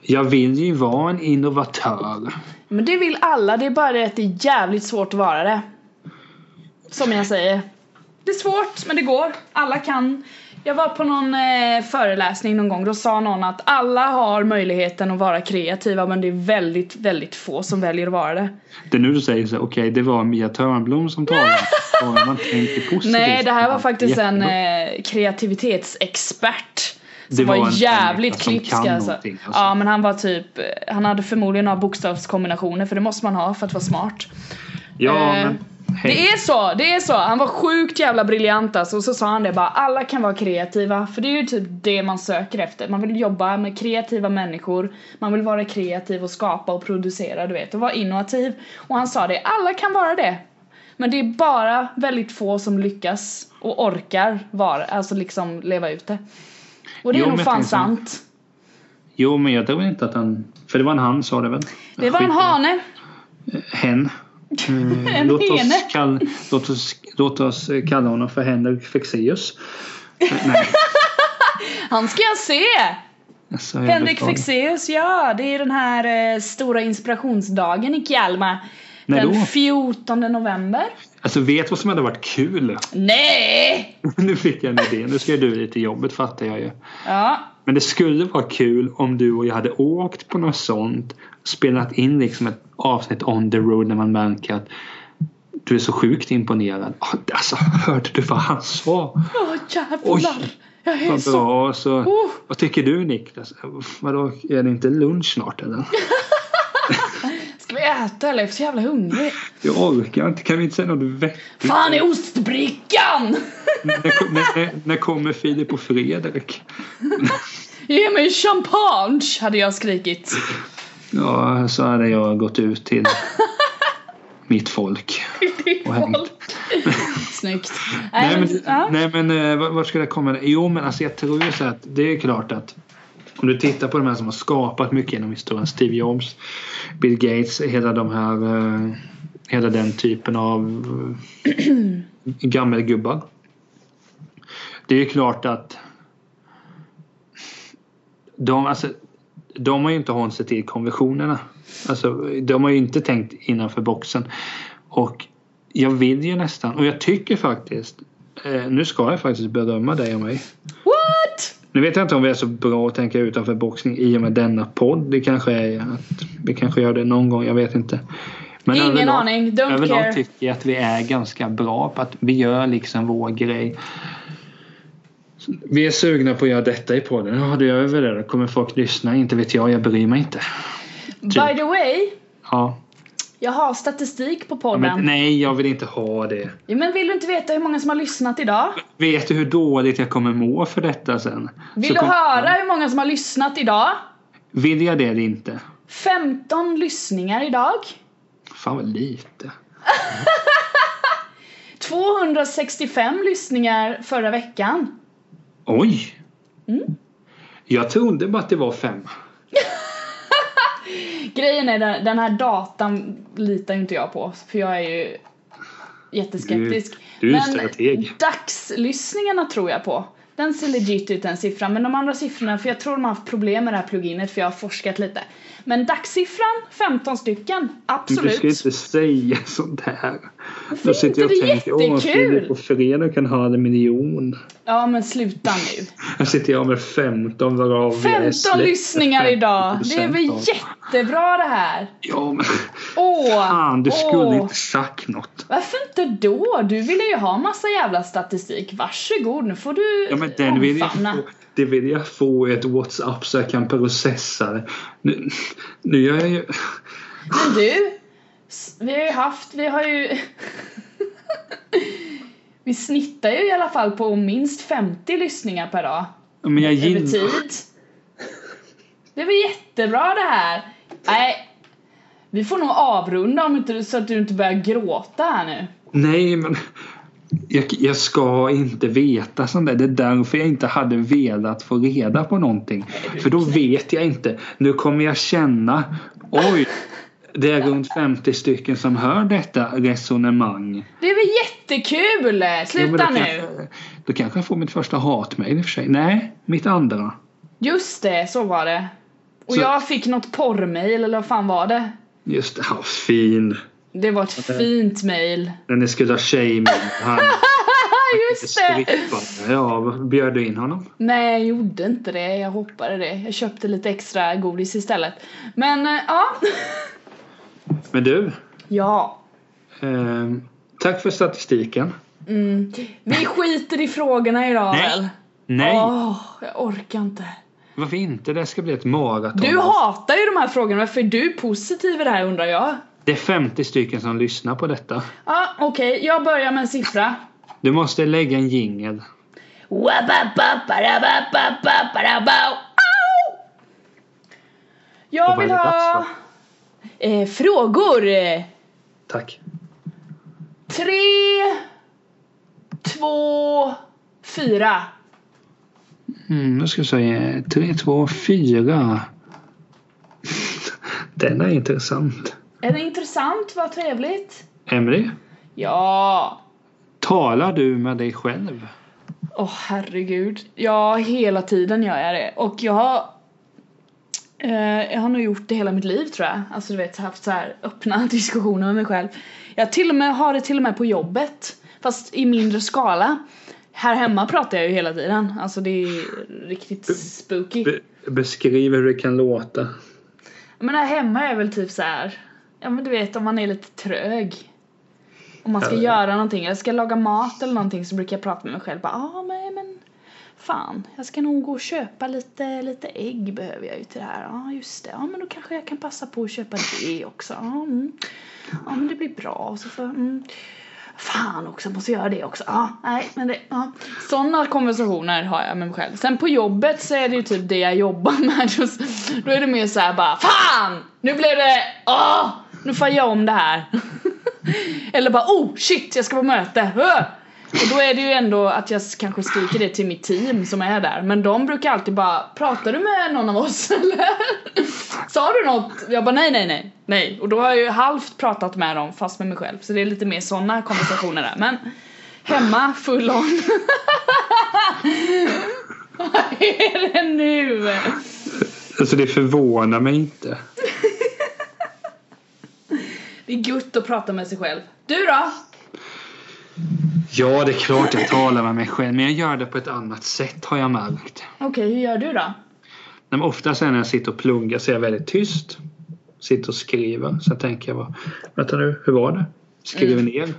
Speaker 1: jag vill ju vara en innovatör.
Speaker 2: Men det vill alla, det är bara det att det är jävligt svårt att vara det. Som jag säger. Det är svårt, men det går. Alla kan. Jag var på någon eh, föreläsning någon gång, då sa någon att alla har möjligheten att vara kreativa men det är väldigt, väldigt få som väljer att vara det.
Speaker 1: Det är nu du säger så, här, okej det var Mia Törnblom som talade. Bara man tänker positivt.
Speaker 2: Nej, det här var faktiskt en
Speaker 1: Jättebra.
Speaker 2: eh, kreativitetsexpert. Som
Speaker 1: Det
Speaker 2: var,
Speaker 1: var en
Speaker 2: jävligt
Speaker 1: människa som
Speaker 2: klipsk
Speaker 1: kan
Speaker 2: alltså.
Speaker 1: någonting, alltså.
Speaker 2: Ja men han var typ, eh, han hade förmodligen några bokstavskombinationer för det måste man ha för att vara smart.
Speaker 1: Ja,
Speaker 2: eh,
Speaker 1: men hej.
Speaker 2: Det är så, det är så. Han var sjukt jävla briljant alltså. Och så sa han det bara, alla kan vara kreativa. För det är ju typ det man söker efter. Man vill jobba med kreativa människor. Man vill vara kreativ och skapa och producera, du vet. Och vara innovativ. Och han sa det, alla kan vara det. Men det är bara väldigt få som lyckas och orkar vara, alltså liksom leva ut det. Och det
Speaker 1: Jo,
Speaker 2: är
Speaker 1: men
Speaker 2: nog
Speaker 1: jag
Speaker 2: fan
Speaker 1: tänker-
Speaker 2: sant.
Speaker 1: Jo, men jag tror inte att han... För det var en han sa det väl?
Speaker 2: Det var en
Speaker 1: Skit i
Speaker 2: hane.
Speaker 1: Hen. Mm,
Speaker 2: En
Speaker 1: låt, oss
Speaker 2: hene.
Speaker 1: kall, låt, oss, låt oss kalla honom för Henrik Fexeus. Nej,
Speaker 2: Han ska jag se!
Speaker 1: alltså,
Speaker 2: Henrik
Speaker 1: jag beklagar.
Speaker 2: Fexeus, ja det är den här eh, stora inspirationsdagen i Kalmar.
Speaker 1: När
Speaker 2: den
Speaker 1: då?
Speaker 2: 14 november.
Speaker 1: Alltså vet vad som hade varit kul?
Speaker 2: Nej!
Speaker 1: nu fick jag en idé. Nu ska du lite jobbet fattar jag ju.
Speaker 2: Ja,
Speaker 1: Men det skulle vara kul om du och jag hade åkt på något sånt. Spelat in liksom ett avsnitt on the road när man märker att du är så sjukt imponerad. Ah, Alltså hörde du vad han sa?
Speaker 2: åh jävlar.
Speaker 1: Oj.
Speaker 2: jag är
Speaker 1: Vad
Speaker 2: så...
Speaker 1: bra. Och så,
Speaker 2: Oh.
Speaker 1: Vad tycker du Niklas? Vadå, är det inte lunch snart eller?
Speaker 2: Ska vi äta eller jag är så jävla hungrig.
Speaker 1: Jag orkar inte. Kan vi inte säga något vettigt?
Speaker 2: Fan är ostbrickan!
Speaker 1: När, när, när, när kommer Filip och Fredrik?
Speaker 2: Ge mig champagne! Hade jag skrikit.
Speaker 1: Ja, så hade jag gått ut till mitt folk.
Speaker 2: Det
Speaker 1: Och
Speaker 2: är
Speaker 1: hängt.
Speaker 2: folk. Snyggt.
Speaker 1: Nej men,
Speaker 2: ja.
Speaker 1: nej, men eh, vart vart skulle jag komma? Jo men alltså jag tror ju så att det är klart att om du tittar på de här som har skapat mycket genom historien. Steve Jobs, Bill Gates, hela de här eh, Hela den typen av eh, gammelgubbar. Det är ju klart att de, alltså, de har ju inte hållit sig till konventionerna. Alltså, de har ju inte tänkt innanför boxen. Och jag vill ju nästan, och jag tycker faktiskt, eh, nu ska jag faktiskt berömma dig och mig.
Speaker 2: What?
Speaker 1: Nu vet jag inte om vi är så bra att tänka utanför boxning i och med denna podd. Det kanske är att vi kanske gör det någon gång, jag vet inte. Men
Speaker 2: Ingen aning, don't care.
Speaker 1: Överlag tycker jag att vi är ganska bra på att vi gör liksom vår grej. Vi är sugna på att göra detta i podden. Ja, då gör vi det. Då kommer folk lyssna. Inte vet jag, jag bryr mig inte.
Speaker 2: By the way,
Speaker 1: Ja.
Speaker 2: jag har statistik på
Speaker 1: Ja,
Speaker 2: podden.
Speaker 1: Men, nej, jag vill inte ha det.
Speaker 2: Ja, men vill du inte veta hur många som har lyssnat idag?
Speaker 1: Vet du hur dåligt jag kommer må för detta sen?
Speaker 2: Vill
Speaker 1: Så
Speaker 2: du
Speaker 1: kom-
Speaker 2: höra hur många som har lyssnat idag?
Speaker 1: Vill jag det eller inte?
Speaker 2: 15 lyssningar idag.
Speaker 1: Fan vad lite.
Speaker 2: 265 lyssningar förra veckan.
Speaker 1: Oj!
Speaker 2: Mm.
Speaker 1: Jag trodde bara att det var fem.
Speaker 2: Grejen är den, den här datan litar ju inte jag på för jag är ju jätteskeptisk.
Speaker 1: Du- du är strateg.
Speaker 2: dagslyssningarna tror jag på. Den ser legit ut den siffran men de andra siffrorna för jag tror de har haft problem med det här pluginet för jag har forskat lite. Men dagssiffran 15 stycken,
Speaker 1: Du
Speaker 2: absolut.
Speaker 1: ska inte säga sånt här.
Speaker 2: Varför inte? Det är jättekul."
Speaker 1: på fredag kan ha en miljon.
Speaker 2: Ja men sluta nu.
Speaker 1: Här sitter jag med 15 varav jag är
Speaker 2: 15
Speaker 1: släkt
Speaker 2: lyssningar
Speaker 1: med
Speaker 2: idag! Det är
Speaker 1: 50%
Speaker 2: väl
Speaker 1: av-
Speaker 2: jättebra det här!
Speaker 1: Ja men
Speaker 2: Åh!
Speaker 1: fan du
Speaker 2: åh.
Speaker 1: skulle inte sagt något.
Speaker 2: Varför inte då? Du ville ju ha massa jävla statistik. Varsågod, nu får du
Speaker 1: Ja men den vill jag
Speaker 2: omfamna.
Speaker 1: få, det vill jag få i ett WhatsApp så jag kan processa det. Nu, nu gör jag ju...
Speaker 2: Men du! s- Vi har ju haft, vi har ju... vi snittar ju i alla fall på minst 50 lyssningar per dag.
Speaker 1: Men jag
Speaker 2: Över
Speaker 1: gillar...
Speaker 2: tid. Det var jättebra det här! Nej. Vi får nog avrunda om inte, du- så att du inte börjar gråta här nu.
Speaker 1: Nej, men jag, jag ska inte veta sånt där. Det är därför jag inte hade velat få reda på någonting. För då vet jag inte. Nu kommer jag känna, oj, det är runt 50 stycken som hör detta resonemang.
Speaker 2: Det är väl jättekul!
Speaker 1: Ja, men
Speaker 2: Sluta
Speaker 1: då
Speaker 2: nu!
Speaker 1: Kanske, då kanske jag får mitt första hatmejl i och för sig. Nej, mitt andra.
Speaker 2: Just det, så var det. Och
Speaker 1: Så-
Speaker 2: jag fick något porrmail eller vad fan var det?
Speaker 1: Just det, ja, fin.
Speaker 2: Det var ett fint mail.
Speaker 1: När ni skulle ha tjejmejl. Han
Speaker 2: Just det!
Speaker 1: strippade. Ja, bjöd du in honom?
Speaker 2: Nej, jag gjorde inte det. Jag hoppade det. Jag köpte lite extra godis istället. Men eh, ja.
Speaker 1: Men du,
Speaker 2: Ja.
Speaker 1: eh, tack för statistiken.
Speaker 2: Mm. Vi skiter i frågorna idag
Speaker 1: Nej.
Speaker 2: väl?
Speaker 1: Nej.
Speaker 2: Åh, jag orkar inte.
Speaker 1: Varför inte? Det ska bli ett maraton.
Speaker 2: Du hatar ju de här frågorna. Varför är du positiv i det här undrar jag?
Speaker 1: Det är 50 stycken som lyssnar på detta.
Speaker 2: Ja, okej. Jag börjar med en siffra.
Speaker 1: Du måste lägga en jingel.
Speaker 2: Wabababababababababau. Jag
Speaker 1: Vad
Speaker 2: vill
Speaker 1: är det dags
Speaker 2: ha eh, frågor.
Speaker 1: Tack.
Speaker 2: Tre, två, fyra.
Speaker 1: Mm, nu ska vi säga 3, 2, 4. Den är intressant.
Speaker 2: Är det intressant? Vad trevligt.
Speaker 1: Emily,
Speaker 2: Ja.
Speaker 1: talar du med dig själv?
Speaker 2: Åh herregud. Ja, hela tiden gör jag det. Och jag har... Eh, jag har nog gjort det hela mitt liv tror jag. Alltså du vet, haft så här öppna diskussioner med mig själv. Jag till och med har det till och med på jobbet. Fast i mindre skala. Här hemma pratar jag ju hela tiden. Alltså det är riktigt spooky.
Speaker 1: Be- beskriv hur det kan låta.
Speaker 2: Men här hemma är väl typ så här. Ja men du vet om man är lite trög. Om man ska
Speaker 1: Ja.
Speaker 2: göra någonting eller ska laga mat eller någonting så brukar jag prata med mig själv. Bara, ah, nej, men Fan, jag ska nog gå och köpa lite, lite ägg behöver jag ju till det här. Ja, just det. Ja, men då kanske jag kan passa på att köpa det också. Ja, mm. ja men det blir bra. Och så får, mm. Fan också, måste göra det också. Ja, nej, men det, ja. Sådana konversationer har jag med mig själv. Sen på jobbet så är det ju typ det jag jobbar med. Då, då är det mer så här bara Fan! Nu blev det... Åh! Nu får jag göra om det här. Eller bara oh shit, jag ska på möte. Öh! Och då är det ju ändå att jag kanske skriker det till mitt team som är där Men de brukar alltid bara Pratar du med någon av oss eller? Sa du något? Jag bara nej nej nej Nej och då har jag ju halvt pratat med dem fast med mig själv Så det är lite mer sådana konversationer där men Hemma full on Vad är det nu?
Speaker 1: Alltså det förvånar mig inte.
Speaker 2: Det är gött att prata med sig själv Du då?
Speaker 1: Ja, det är klart jag talar med mig själv, men jag gör det på ett annat sätt har jag märkt.
Speaker 2: Okej, hur gör du då?
Speaker 1: Nej, men oftast är när jag sitter och pluggar så är jag väldigt tyst. Sitter och skriver. Sen tänker jag bara, vänta nu, hur var det? Skriver
Speaker 2: Mm.
Speaker 1: ner.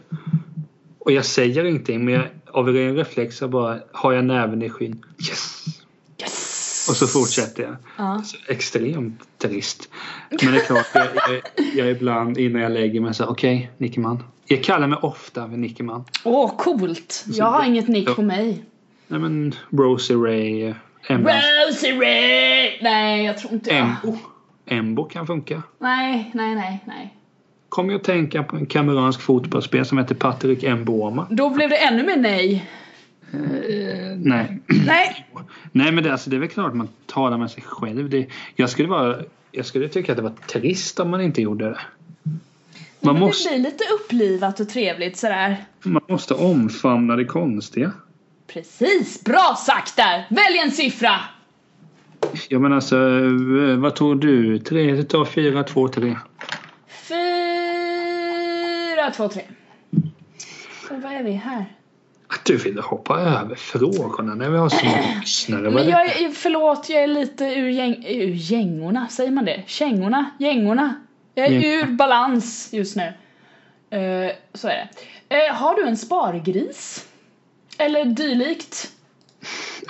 Speaker 1: Och jag säger ingenting, men jag, av ren reflex så bara har jag näven i skyn. Yes!
Speaker 2: Yes!
Speaker 1: Och så fortsätter jag.
Speaker 2: Ja.
Speaker 1: Så extremt trist. Men det är klart, jag, jag, jag är ibland innan jag lägger mig så här, okej, Nickeman. Jag kallar mig ofta för Nickeman.
Speaker 2: Åh, coolt! Jag har inget nick på mig.
Speaker 1: Nej men, Rosie Ray, eh, Embo.
Speaker 2: Rosary! Nej, jag tror inte jag.
Speaker 1: Embo. oh, Embo kan funka.
Speaker 2: Nej, nej, nej, nej.
Speaker 1: Kom jag att tänka på en kamerunsk fotbollsspelare som heter Patrick Mboma.
Speaker 2: Då blev det ännu mer nej.
Speaker 1: Eh, nej.
Speaker 2: Nej.
Speaker 1: nej men det, alltså, det är väl klart man talar med sig själv. Det, jag, skulle vara, jag skulle tycka att det var trist om man inte gjorde det. Man
Speaker 2: Men
Speaker 1: måste,
Speaker 2: Det blir lite upplivat och trevligt sådär.
Speaker 1: man måste omfamna det konstiga.
Speaker 2: Precis, bra sagt där! Välj en siffra!
Speaker 1: Jag menar alltså, eh, vad tog du? Tre, du tar fyra, två, tre.
Speaker 2: Fyra, två, tre. Så vad är vi här?
Speaker 1: Att du ville hoppa över frågorna när vi har så många lyssnare. vad
Speaker 2: Men
Speaker 1: det-
Speaker 2: jag är, förlåt, jag är lite ur, gäng, ur gängorna, säger man det? Kängorna? Gängorna? Jag är
Speaker 1: Gängorna.
Speaker 2: ur balans just nu. Eh, så är det. Eh, har du en spargris? Eller dylikt?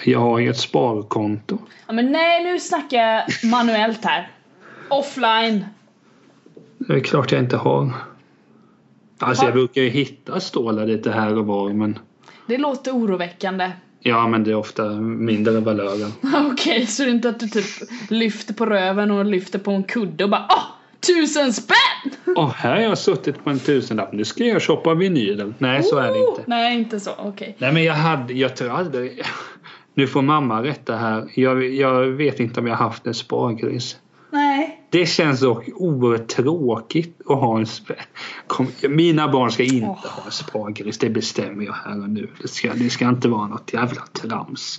Speaker 1: Jag har ju ett sparkonto.
Speaker 2: Ja, men nej, nu snackar jag manuellt här. Offline.
Speaker 1: Det är klart jag inte har. Alltså
Speaker 2: Har-
Speaker 1: jag brukar ju hitta stålar lite här och var men
Speaker 2: Det låter oroväckande.
Speaker 1: Ja men det är ofta mindre valörer.
Speaker 2: Okej, så det är inte att du typ lyfter på röven och lyfter på en kudde och bara ah, tusen spänn!
Speaker 1: Åh här har jag suttit på en tusenlapp. Nu ska jag shoppa vinylen. Oh! Nej så är det inte.
Speaker 2: Nej, inte så. Okej.
Speaker 1: Nej men jag hade, jag tror aldrig. Nu får mamma rätta här. Jag, jag vet inte om jag har haft en spargris.
Speaker 2: Nej.
Speaker 1: Det känns dock oerhört tråkigt att ha en sp- Kom, Mina barn ska inte
Speaker 2: Åh.
Speaker 1: ha en spargris. Det bestämmer jag här och nu. Det ska, det ska inte vara något jävla trams.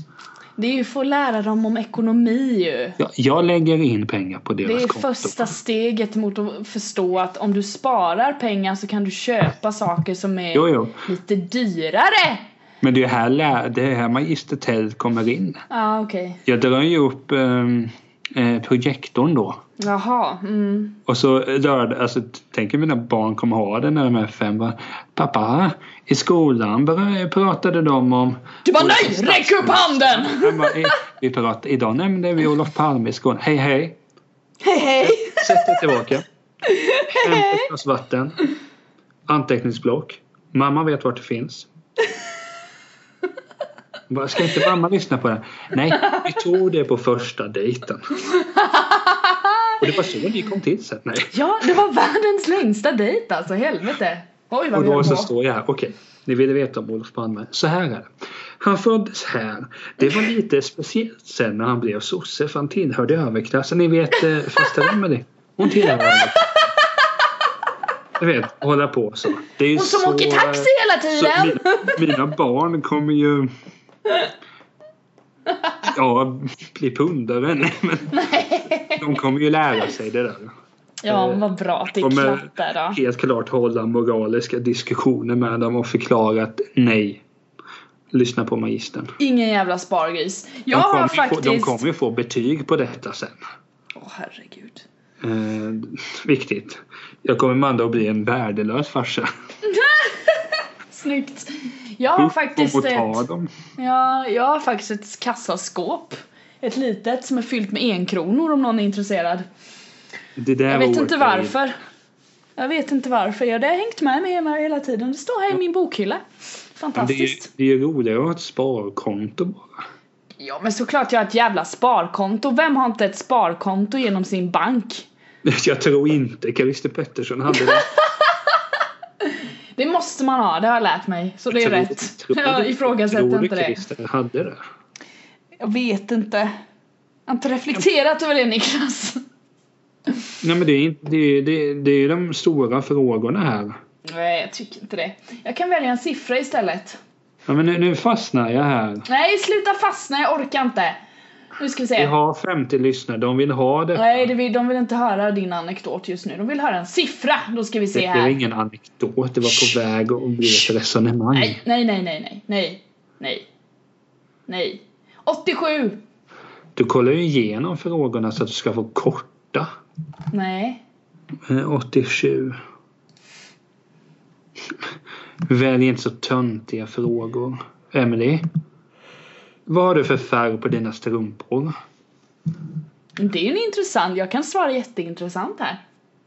Speaker 2: Det är ju för att lära dem om ekonomi ju.
Speaker 1: Jag, jag lägger in pengar på
Speaker 2: Det
Speaker 1: deras
Speaker 2: är
Speaker 1: konto.
Speaker 2: första steget mot att förstå att om du sparar pengar så kan du köpa saker som är
Speaker 1: Jo, jo.
Speaker 2: lite dyrare.
Speaker 1: Men det är här, lä- det är här Magister Tell kommer in.
Speaker 2: Ja, okej.
Speaker 1: Jag drar ju upp ehm, eh, projektorn då.
Speaker 2: Jaha. Mm.
Speaker 1: Och så rör det, alltså t- tänk om mina barn kommer ha den när de är fem. Bara, Pappa, i skolan bör- pratade de om...
Speaker 2: Du bara nej! Räck upp handen!
Speaker 1: Jag bara, "Eh, vi pratade, idag nämnde vi Olof Palme i Skåne. Hej hej!
Speaker 2: Hej hej!
Speaker 1: Sätt dig tillbaka. Hämta ett glas vatten. Anteckningsblock. Mamma vet vart det finns. Bara, Ska inte mamma lyssna på det? Nej, vi tog det på första dejten. Och det var så ni kom till sen. Nej.
Speaker 2: Ja, det var världens längsta dejt alltså, helvete. Oj vad
Speaker 1: Och
Speaker 2: vi
Speaker 1: då
Speaker 2: höll
Speaker 1: så
Speaker 2: på.
Speaker 1: står jag här. Okej, ni ville veta om Olof Palme. Så här är det. Han föddes här. Det var lite speciellt sen när han blev sosse för han tillhörde överklassen. Ni vet eh, fasta Remedy. Hon tillhör överklassen. Du vet, hålla på så. Det är ju
Speaker 2: Hon som
Speaker 1: så, eh,
Speaker 2: åker taxi hela
Speaker 1: så
Speaker 2: tiden!
Speaker 1: mina, mina barn kommer ju... Ja, bli pundare. Nej, men de kommer ju lära sig det där.
Speaker 2: Ja,
Speaker 1: eh,
Speaker 2: men vad bra att det är
Speaker 1: Kommer-
Speaker 2: klart där då.
Speaker 1: helt klart hålla moraliska diskussioner med dem och förklara att nej. Lyssna på magistern.
Speaker 2: Ingen jävla spargris. Jag
Speaker 1: De
Speaker 2: har
Speaker 1: kommer, ju få,
Speaker 2: faktiskt...
Speaker 1: de kommer ju få betyg på detta sen.
Speaker 2: Åh herregud.
Speaker 1: Eh, viktigt. Jag kommer med andra att bli en värdelös farsa.
Speaker 2: Snyggt. Jag har faktiskt eh,
Speaker 3: och ta
Speaker 2: ett,
Speaker 3: dem.
Speaker 2: ja, jag har faktiskt ett kassaskåp. Ett litet som är fyllt med enkronor om någon är intresserad.
Speaker 1: Det där
Speaker 2: Jag
Speaker 1: var
Speaker 2: vet inte
Speaker 1: orättvist.
Speaker 2: varför. Jag vet inte varför. Jag, det har hängt med mig hemma hela tiden. Det står här i min bokhylla.
Speaker 1: Men Det är, ju-
Speaker 2: Fantastiskt.
Speaker 1: det är ju roligare att ha ett sparkonto bara.
Speaker 2: Ja men såklart jag har ett jävla sparkonto. Vem har inte ett sparkonto genom sin bank?
Speaker 1: Jag tror inte Christer Pettersson hade det.
Speaker 2: Det måste man ha, det har jag lärt mig. Så det är
Speaker 1: Tror-
Speaker 2: rätt.
Speaker 1: tror-
Speaker 2: Jag ifrågasätter
Speaker 1: tror
Speaker 2: inte
Speaker 1: du
Speaker 2: det.
Speaker 1: Christer hade det?
Speaker 2: Jag vet inte. Jag har inte reflekterat över det Niklas.
Speaker 1: Nej men det är, inte- det, är, det, är, det är de stora frågorna här.
Speaker 2: Nej, jag tycker inte det. Jag kan välja en siffra istället.
Speaker 1: Ja, men nu, nu fastnar jag här.
Speaker 2: Nej, sluta fastna, jag orkar inte. Nu ska vi se.
Speaker 1: Vi har 50 lyssnare, de vill ha det.
Speaker 2: Nej, det vill, de vill inte höra din anekdot just nu. De vill höra en siffra. Då ska vi se
Speaker 1: Det är
Speaker 2: här.
Speaker 1: ingen anekdot, det var på väg att bli ett resonemang.
Speaker 2: Nej, nej, nej, nej, nej, nej, nej, nej. 87!
Speaker 1: Du kollar ju igenom frågorna så att du ska få korta.
Speaker 2: Nej.
Speaker 1: Eh, 87. Välj inte så töntiga frågor. Emily. Vad har du för färg på dina strumpor?
Speaker 2: Det är ju en intressant, jag kan svara jätteintressant här.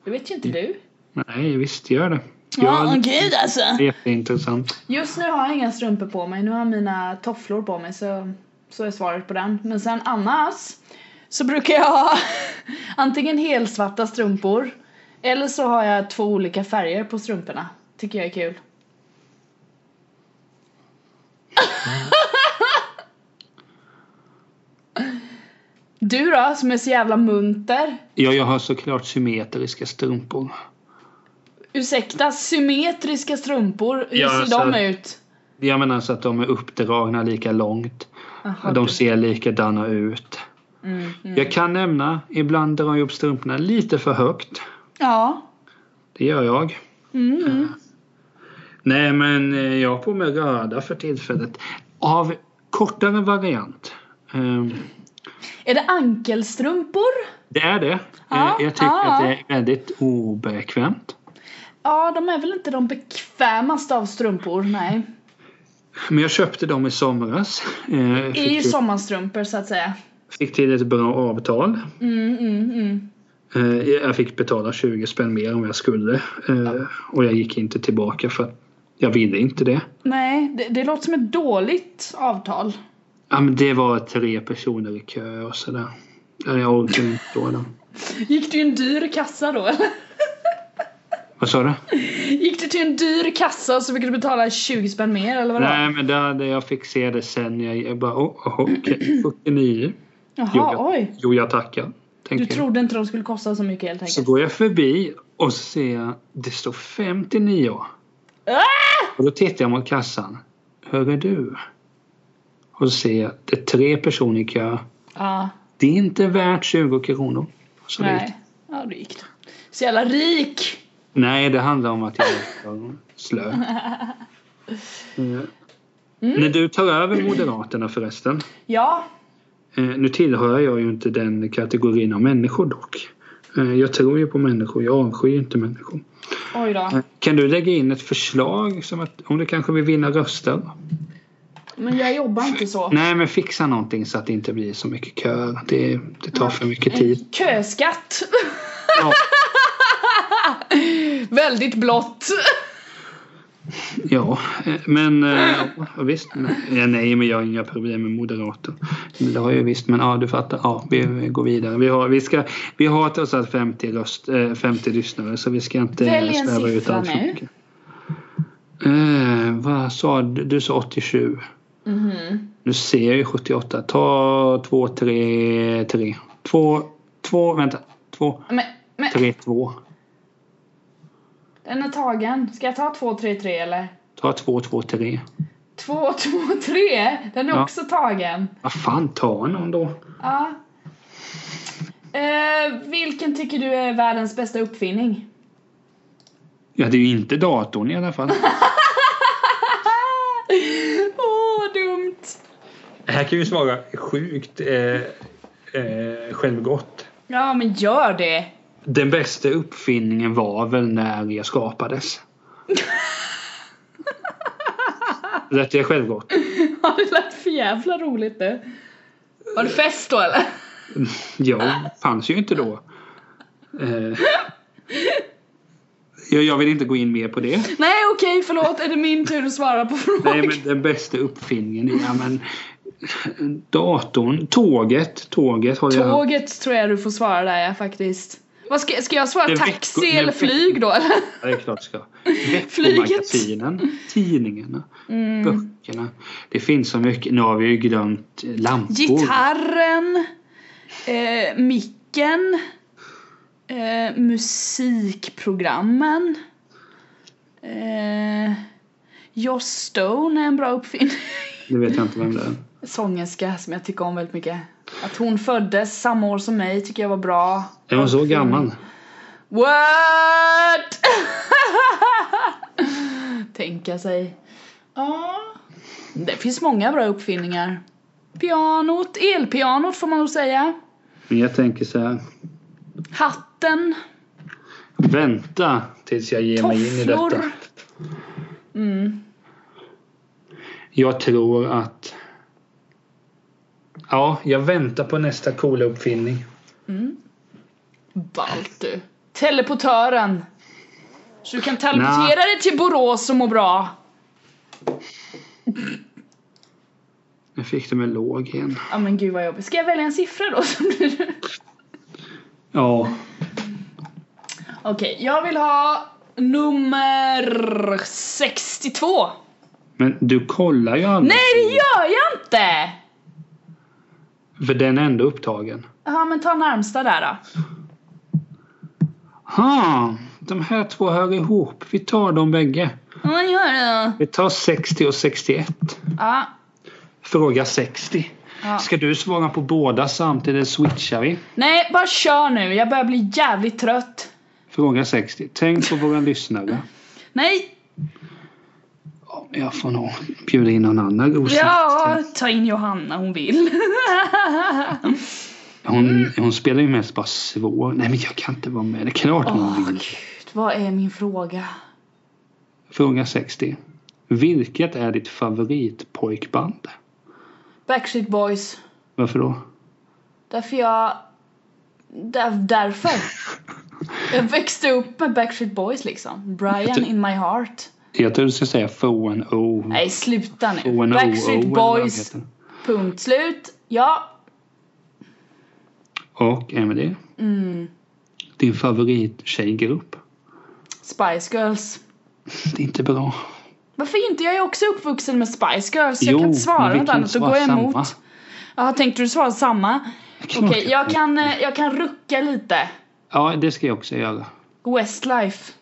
Speaker 2: Det vet ju inte du.
Speaker 1: Nej, visst gör det.
Speaker 2: Ja,
Speaker 1: Mm. Ja,
Speaker 2: gud alltså.
Speaker 1: det är jätteintressant.
Speaker 2: Just nu har jag inga strumpor på mig, nu har jag mina tofflor på mig så, så är svaret på den. Men sen annars så brukar jag ha antingen helsvarta strumpor eller så har jag två olika färger på strumporna. Tycker jag är kul. Du då, som är så jävla munter.
Speaker 1: Ja, jag har såklart symmetriska strumpor.
Speaker 2: Ursäkta, symmetriska strumpor, hur
Speaker 1: Ja,
Speaker 2: ser
Speaker 1: alltså-
Speaker 2: de ut?
Speaker 1: Jag menar så att de är uppdragna lika långt.
Speaker 2: Jaha,
Speaker 1: de
Speaker 2: du-
Speaker 1: ser likadana ut.
Speaker 2: mm, mm.
Speaker 1: Jag kan nämna, ibland drar jag upp strumporna lite för högt.
Speaker 2: Ja.
Speaker 1: Det gör jag.
Speaker 2: Mm. mm.
Speaker 1: Nej, men eh, jag har på mig röda för tillfället. Av kortare variant. Ehm,
Speaker 2: Är det ankelstrumpor?
Speaker 1: Det är det. Eh,
Speaker 2: Ja,
Speaker 1: Jag tycker
Speaker 2: ja.
Speaker 1: att det är väldigt obekvämt.
Speaker 2: Ja, de är väl inte de bekvämaste av strumpor, nej.
Speaker 1: Men jag köpte dem i somras. Eh,
Speaker 2: Det är ju
Speaker 1: Fick, till-
Speaker 2: sommarstrumpor så att säga.
Speaker 1: fick till ett bra avtal.
Speaker 2: Mm, mm, mm.
Speaker 1: Eh, Jag fick betala 20 spänn mer om jag skulle. Eh, Och jag gick inte tillbaka för att jag ville inte det.
Speaker 2: Nej, det, det låter som ett dåligt avtal.
Speaker 1: Ja, men det var tre personer i kö och sådär. Ja, Jag orkade inte då. då.
Speaker 2: Gick du en dyr kassa då eller?
Speaker 1: Vad sa du?
Speaker 2: Gick du till en dyr kassa och så fick du betala 20 spänn mer eller vadå?
Speaker 1: Nej, men där, där jag fick se det sen. Jag, jag bara, oh, oh, okej, 49.
Speaker 2: Jaha,
Speaker 1: Jo,
Speaker 2: oj.
Speaker 1: Jo, jag tackar.
Speaker 2: Du
Speaker 1: Tänker jag.
Speaker 2: trodde inte de skulle kosta så mycket helt
Speaker 1: Så
Speaker 2: enkelt.
Speaker 1: går jag förbi och så ser jag, det står 59.
Speaker 2: Ah!
Speaker 1: Och då tittar jag mot kassan. Hör är du? Och så ser jag, det är tre personer i kö.
Speaker 2: Ja,
Speaker 1: Det är inte värt 20 kronor. Och Så gick-
Speaker 2: nej. Ja, du gick då. Så jävla rik!
Speaker 1: Nej, det handlar om att jag var slö. Eh, När du tar över Moderaterna förresten.
Speaker 2: Ja,
Speaker 1: Eh, nu tillhör jag ju inte den kategorin av människor dock. Eh, jag tror ju på människor, jag avskyr inte människor.
Speaker 2: oj då.
Speaker 1: Eh, kan du lägga in ett förslag som att om du kanske vill vinna röster?
Speaker 2: Men jag jobbar inte så.
Speaker 1: Nej, men fixa någonting så att det inte blir så mycket köer. Det, det tar för mycket tid.
Speaker 2: Köskatt!
Speaker 1: Ja,
Speaker 2: Väldigt blått.
Speaker 1: ja. eh, men eh, ja, visst. Nej, ja, nej, men jag har inga problem med moderater. Det har jag visst, men ja, du fattar. Ja, vi, vi går vidare. Vi har, vi ska, vi har trots allt 50, röst, eh, 50 lyssnare så vi ska inte
Speaker 2: Välj en
Speaker 1: sväva ut
Speaker 2: siffra
Speaker 1: allt för
Speaker 2: nu.
Speaker 1: mycket. Eh, vad sa du? Du sa 87.
Speaker 2: Mhm.
Speaker 1: Nu ser jag ju 78. Ta 2, 3, 3. 2, 2, vänta. 2,
Speaker 2: Men, men
Speaker 1: 3, 2.
Speaker 2: den är tagen. Ska jag ta 233 eller?
Speaker 1: Ta 2, 2, 3.
Speaker 2: 223? Den är
Speaker 1: Ja.
Speaker 2: också tagen.
Speaker 1: Vad fan, ta någon då.
Speaker 2: Ja. Eh, vilken tycker du är världens bästa uppfinning?
Speaker 1: Ja, det är ju inte datorn i alla fall.
Speaker 2: Åh, dumt!
Speaker 1: Det här kan ju svara sjukt eh, eh, självgott.
Speaker 2: Ja, men gör det!
Speaker 1: Den bästa uppfinningen var väl när jag skapades. Lät jag självgott?
Speaker 2: Ja, det lät för jävla roligt det. Var det fest då eller?
Speaker 1: Ja, fanns ju inte då. Eh, jag, jag vill inte gå in mer på det.
Speaker 2: Nej okej, förlåt. Är det min tur att svara på frågan?
Speaker 1: Nej, men den bästa uppfinningen är, ja men datorn, tåget, tåget har jag
Speaker 2: Tåget tror jag du får svara där ja, faktiskt. Vad ska, ska jag svara
Speaker 1: Det är
Speaker 2: taxi
Speaker 1: veckor- det är
Speaker 2: eller flyg då eller?
Speaker 1: Ja, det är klart det ska. Veckomagasinen, tidningarna,
Speaker 2: Mm.
Speaker 1: böckerna. Det finns så mycket. Nu har vi ju glömt eh, lampor.
Speaker 2: Gitarren, eh, micken, eh, musikprogrammen. Eh, Joss Stone är en bra uppfinning.
Speaker 1: Nu vet jag inte vem det är.
Speaker 2: Sångerska som jag tycker om väldigt mycket. Att hon föddes samma år som mig tycker jag var bra.
Speaker 1: Är hon så gammal?
Speaker 2: What? Tänka sig. Ja. Det finns många bra uppfinningar. Pianot, elpianot får man nog säga.
Speaker 1: Men jag tänker så här.
Speaker 2: Hatten,
Speaker 1: Vänta tills jag ger mig in i detta.
Speaker 2: tofflor. Mm.
Speaker 1: Jag tror att... Ja, jag väntar på nästa coola uppfinning.
Speaker 2: Ballt du. Teleportören. Så du kan teleportera dig till Borås och må bra.
Speaker 1: Nu fick du mig låg igen.
Speaker 2: Ja men gud vad jobbigt. Ska jag välja en siffra då så blir det...
Speaker 1: Ja,
Speaker 2: Okej, jag vill ha nummer 62.
Speaker 1: men du kollar ju aldrig.
Speaker 2: Nej det gör jag inte!
Speaker 1: För den är ändå upptagen.
Speaker 2: Ja men ta närmsta där då.
Speaker 1: Ha, de här två hör ihop. Vi tar dem bägge.
Speaker 2: Ja men gör det då.
Speaker 1: Vi tar 60 och 61.
Speaker 2: Ja.
Speaker 1: Fråga 60.
Speaker 2: ja.
Speaker 1: Ska du svara på båda samtidigt switchar vi?
Speaker 2: Nej bara kör nu, jag börjar bli jävligt trött.
Speaker 1: Fråga 60. Tänk på våra lyssnare.
Speaker 2: Nej!
Speaker 1: Ja, men Jag får nog bjuda in någon annan rosa.
Speaker 2: Ja, ta in Johanna hon vill.
Speaker 1: Hon, hon spelar ju mest bara svår. Nej men jag kan inte vara med. Det är klart hon
Speaker 2: Åh
Speaker 1: vill.
Speaker 2: gud, vad är min fråga?
Speaker 1: Fråga 60. Vilket är ditt favoritpojkband?
Speaker 2: Backstreet Boys.
Speaker 1: Varför då?
Speaker 2: Därför jag... Där, därför. Jag växte upp med Backstreet Boys liksom. Brian
Speaker 1: Typ.
Speaker 2: in my heart.
Speaker 1: Jag tror du ska säga FONO.
Speaker 2: Nej sluta
Speaker 1: FONO,
Speaker 2: nu. Backstreet
Speaker 1: eller vad de
Speaker 2: Boys.
Speaker 1: heter.
Speaker 2: Punkt slut. Ja.
Speaker 1: Och Emily.
Speaker 2: Mm.
Speaker 1: Din favorittjejgrupp.
Speaker 2: Spice Girls.
Speaker 1: Det är inte bra.
Speaker 2: Varför inte? Jag är också uppvuxen med Spice Girls. Jag kan inte svara
Speaker 1: men vi
Speaker 2: något
Speaker 1: kan
Speaker 2: annat. Då
Speaker 1: svara
Speaker 2: går jag emot.
Speaker 1: samma.
Speaker 2: Jaha, tänkte du svara samma? Okej,
Speaker 1: Klart
Speaker 2: jag, kan, eh, jag kan rucka lite.
Speaker 1: Ja, det ska jag också göra.
Speaker 2: Westlife.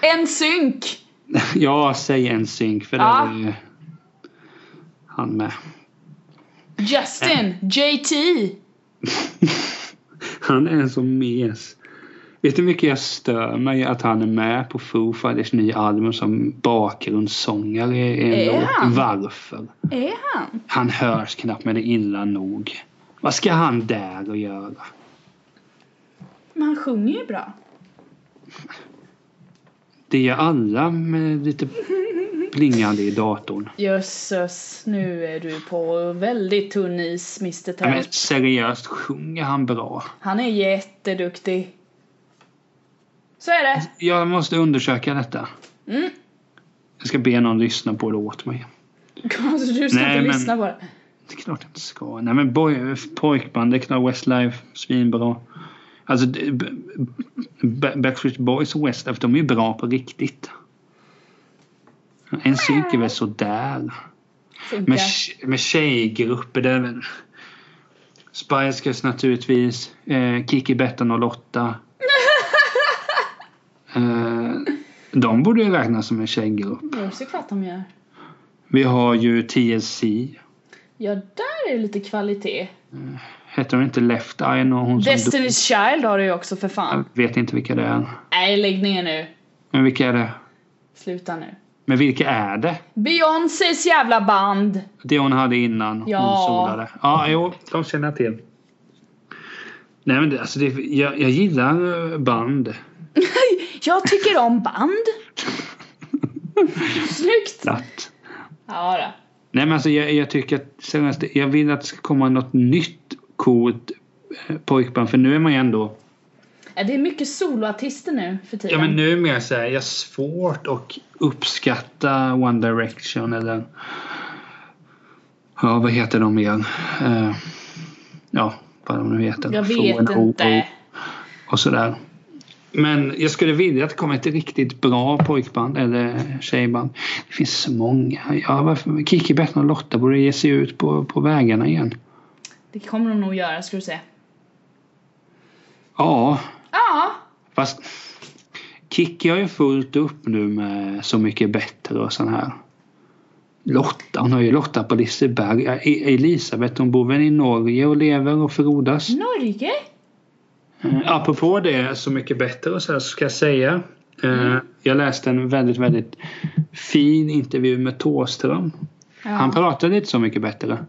Speaker 2: En synk.
Speaker 1: Ja, säg en synk för det
Speaker 2: Ja.
Speaker 1: var ju han med.
Speaker 2: Justin. JT.
Speaker 1: Han är en som mes. Vet du hur mycket jag stör mig att han är med på Foo Fighters nya album som bakgrundssångare i en
Speaker 2: Är
Speaker 1: låt?
Speaker 2: han?
Speaker 1: Varför?
Speaker 2: Är han?
Speaker 1: Han hörs knappt men det är illa nog. Vad ska han där och göra?
Speaker 2: Men han sjunger ju bra.
Speaker 1: Det gör alla med lite plingande i datorn.
Speaker 2: Jösses, nu är du på väldigt tunn is, Mr
Speaker 1: Ja, men
Speaker 2: Ted.
Speaker 1: seriöst, sjunger han bra?
Speaker 2: Han är jätteduktig. Så är det.
Speaker 1: Jag måste undersöka detta.
Speaker 2: Mm.
Speaker 1: Jag ska be någon lyssna på det åt mig.
Speaker 2: Alltså, du ska
Speaker 1: Nej,
Speaker 2: inte
Speaker 1: men-
Speaker 2: lyssna på det.
Speaker 1: Det är klart jag inte ska. Nej men boy, pojkband, det är klart Westlife, svinbra. Alltså det- b- b- Backstreet Boys och Westlife, de är ju bra på riktigt. En synk är väl sådär.
Speaker 2: Funkar.
Speaker 1: Med, tje- med tjejgrupper, det är väl... Spice Girls naturligtvis. Eh, Kiki, Bettan och Lotta. eh, de borde ju räknas som en tjejgrupp.
Speaker 2: Det är också klart de gör.
Speaker 1: Vi har ju TLC.
Speaker 2: Ja, där är lite kvalitet.
Speaker 1: Heter hon inte Left Eye? Och hon som
Speaker 2: Destiny's Child har du ju också för fan.
Speaker 1: Jag vet inte vilka det är.
Speaker 2: Nej, lägg ner nu.
Speaker 1: Men vilka är det?
Speaker 2: Sluta nu.
Speaker 1: Men vilka är det?
Speaker 2: Beyoncés jävla band.
Speaker 1: Det hon hade innan hon
Speaker 2: Ja.
Speaker 1: solade. Ja, jo, de känner jag till. Nej men det, alltså det, jag, jag gillar eh, band.
Speaker 2: Jag tycker om band. Snyggt!
Speaker 1: platt.
Speaker 2: Ja, då.
Speaker 1: Nej men alltså jag, jag tycker att senaste, jag vill att det ska komma något nytt coolt eh, pojkband för nu är man ju ändå
Speaker 2: Ja, Det är mycket soloartister nu för tiden.
Speaker 1: Ja men nu är mer så här, jag har svårt att uppskatta One Direction eller Ja vad heter de igen? Eh, ja vad de nu heter.
Speaker 2: Jag
Speaker 1: Från
Speaker 2: vet
Speaker 1: O
Speaker 2: inte.
Speaker 1: Och sådär. Men jag skulle vilja att det kom ett riktigt bra pojkband eller tjejband. Det finns så många. Ja, varför? Kiki, Bettan och Lotta borde ge sig ut på, på vägarna igen.
Speaker 2: Det kommer de nog göra ska du se.
Speaker 1: Ja,
Speaker 2: Ja,
Speaker 1: fast Kiki har ju fullt upp nu med Så mycket bättre och sån här. Lotta, hon har ju Lotta på Liseberg. E- Elisabeth, hon bor väl i Norge och lever och frodas.
Speaker 2: Norge?
Speaker 1: Eh, Apropå det Så mycket bättre och så här så ska jag säga. eh, Jag läste en väldigt, väldigt fin intervju med Thåström.
Speaker 2: Ja.
Speaker 1: Han pratade inte Så mycket bättre.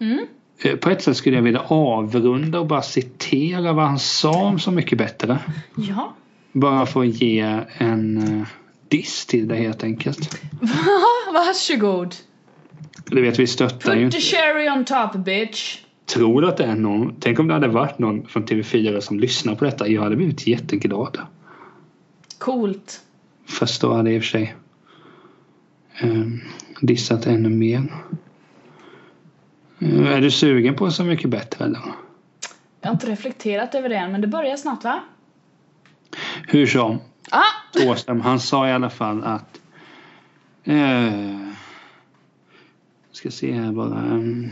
Speaker 2: Mm.
Speaker 1: Eh, På ett sätt skulle jag vilja avrunda och bara citera vad han sa om Så mycket bättre.
Speaker 2: Ja.
Speaker 1: Bara för att ge en eh, diss till det helt enkelt.
Speaker 2: Varsågod.
Speaker 1: Du vet vi stöttar ju
Speaker 2: Put
Speaker 1: inte.
Speaker 2: the cherry on top bitch.
Speaker 1: Tror du att det är någon? Tänk om det hade varit någon från TV4 som lyssnar på detta. Jag hade blivit jätteglad.
Speaker 2: Coolt.
Speaker 1: Fast då hade jag i och för sig ehm, dissat ännu mer. Eh, är du sugen på Så mycket bättre eller?
Speaker 2: Jag har inte reflekterat över det än men det börjar snart va?
Speaker 1: Hur som,
Speaker 2: Ah!
Speaker 1: Åström, han sa i alla fall att... Eh, ska se här bara. ehm,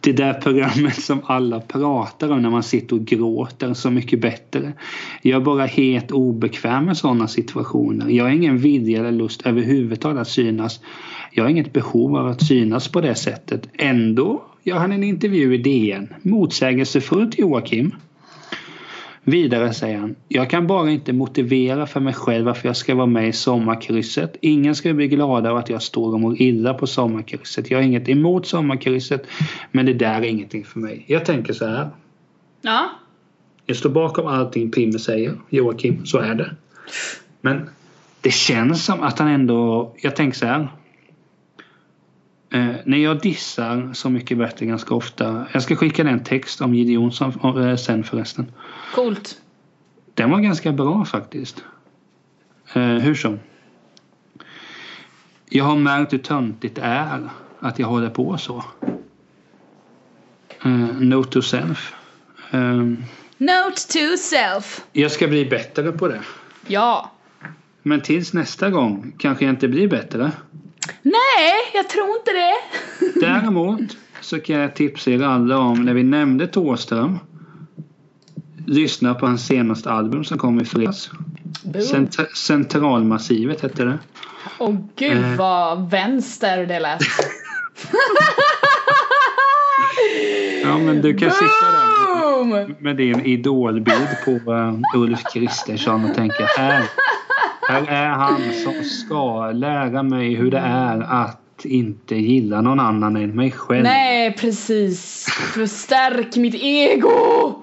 Speaker 1: det där programmet som alla pratar om när man sitter och gråter Så mycket bättre. Jag är bara helt obekväm med sådana situationer. Jag har ingen vilja eller lust överhuvudtaget att synas. Jag har inget behov av att synas på det sättet. Ändå gör han en intervju i DN. Motsägelsefullt Joakim. Vidare säger han. Jag kan bara inte motivera för mig själv varför jag ska vara med i sommarkrysset. Ingen ska bli glada av att jag står och mår illa på sommarkrysset. Jag har inget emot sommarkrysset. Men det där är ingenting för mig. Jag tänker så här.
Speaker 2: Ja.
Speaker 1: Jag står bakom allting Pimme säger. Joakim, så är det. Men det känns som att han ändå... Jag tänker så här. Eh, när jag dissar Så mycket bättre ganska ofta. Jag ska skicka den text om Jill Johnson eh, sen förresten.
Speaker 2: Coolt.
Speaker 1: Den var ganska bra faktiskt. Eh, hur som. Jag har märkt hur töntigt det är att jag håller på så. Eh, note to self. Eh,
Speaker 2: Note to self.
Speaker 1: jag ska bli bättre på det.
Speaker 2: Ja.
Speaker 1: Men tills nästa gång kanske jag inte blir bättre.
Speaker 2: Nej, jag tror inte det.
Speaker 1: Däremot så kan jag tipsa er alla om när vi nämnde Thåström. Lyssna på hans senaste album som kom i fredags.
Speaker 2: Boom.
Speaker 1: Cent- Centralmassivet hette det.
Speaker 2: Åh
Speaker 1: Eh.
Speaker 2: gud vad vänster det lät.
Speaker 1: Ja men du kan sitta där.
Speaker 2: Boom!
Speaker 1: med din idolbild på eh, Ulf Kristersson och tänka här, här är han som ska lära mig hur det är att inte gilla någon annan än mig själv.
Speaker 2: Nej precis. Förstärk mitt ego!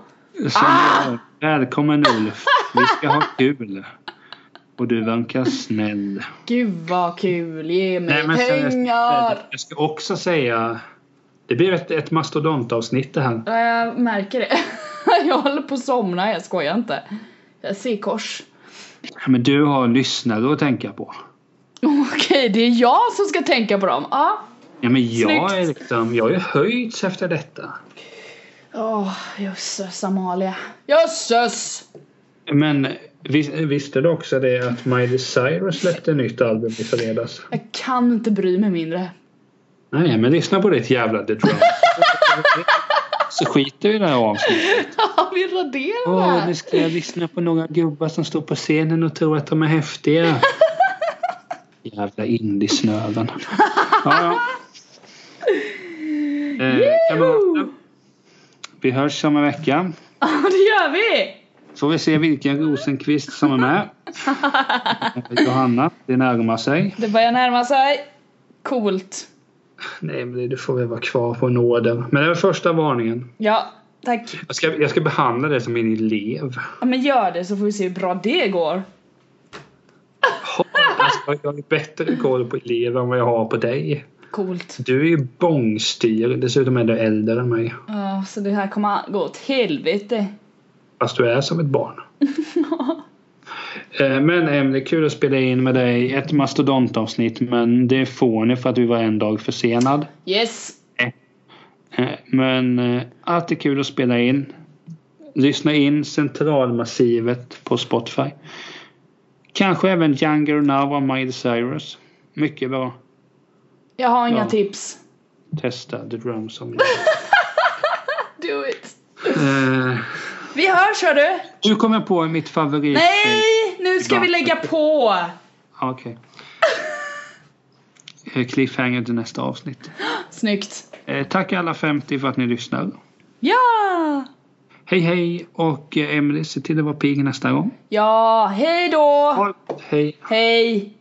Speaker 1: Så,
Speaker 2: Ah!
Speaker 1: eh, Välkommen Ulf, vi ska ha kul. Och du verkar snäll.
Speaker 2: Gud vad kul, ge mig
Speaker 1: seriöst,
Speaker 2: pengar!
Speaker 1: jag ska också säga, det blir ett, ett mastodontavsnitt det här.
Speaker 2: Ja, jag märker det. jag håller på att somna, jag skojar inte. Jag ser kors.
Speaker 1: Men du har lyssnare att tänka på.
Speaker 2: Okej, det är jag som ska tänka på dem. Ja.
Speaker 1: Ja, men jag, är
Speaker 2: Snyggt.
Speaker 1: liksom, jag har ju höjts efter detta.
Speaker 2: Åh, jösses Amalia. Jösses!
Speaker 1: Men vis, visste du också det att Miley Cyrus släppte nytt album i fredags?
Speaker 2: Jag kan inte bry mig mindre.
Speaker 1: Nej, men lyssna på ditt jävla The Drums. Så skiter vi i det här avsnittet.
Speaker 2: Ja, vi raderar
Speaker 1: Åh,
Speaker 2: det.
Speaker 1: nu ska jag lyssna på några gubbar som står på scenen och tror att de är häftiga. Jävla indiesnöven. Ja, ja. Eh, kamrater, vi hörs om en vecka.
Speaker 2: Ja, det gör vi!
Speaker 1: Får vi se vilken Rosenqvist som är med. Johanna, det närmar sig.
Speaker 2: Det börjar närma sig. Coolt.
Speaker 1: Nej, men det- det får väl vara kvar på nåden. Men det var första varningen.
Speaker 2: Ja, tack.
Speaker 1: Jag ska, jag ska behandla det som min elev.
Speaker 2: Ja, men gör det så får vi se hur bra det går.
Speaker 1: Ha, alltså, Jag, jag har bättre koll på elever än vad jag har på dig.
Speaker 2: Coolt.
Speaker 1: Du är ju bångstyrig. Dessutom är du äldre än mig.
Speaker 2: Ja, så det här kommer gå åt helvete.
Speaker 1: Fast du är som ett barn. Eh, Men Em, det är kul att spela in med dig ett mastodontavsnitt men det får ni för att vi var en dag försenad.
Speaker 2: Yes!
Speaker 1: Eh, Men eh, allt är kul att spela in. Lyssna in Centralmassivet på Spotify. Kanske även Younger Now av Miley Cyrus. Mycket bra.
Speaker 2: Jag har inga
Speaker 1: Ja.
Speaker 2: tips.
Speaker 1: Testa The Drum Song.
Speaker 2: Do it!
Speaker 1: Eh,
Speaker 2: Vi hörs hördu!
Speaker 1: Nu kommer jag på mitt favorit.
Speaker 2: Nej! Nu ska vi lägga på!
Speaker 1: Ja, Okej. Eh, Cliffhanger till nästa avsnitt.
Speaker 2: Snyggt.
Speaker 1: Eh, Tack alla 50 för att ni lyssnar.
Speaker 2: Ja!
Speaker 1: Hej hej och eh, Emily se till att vara pigg nästa gång.
Speaker 2: Ja, hej då!
Speaker 1: Ha- Hej.
Speaker 2: Hej!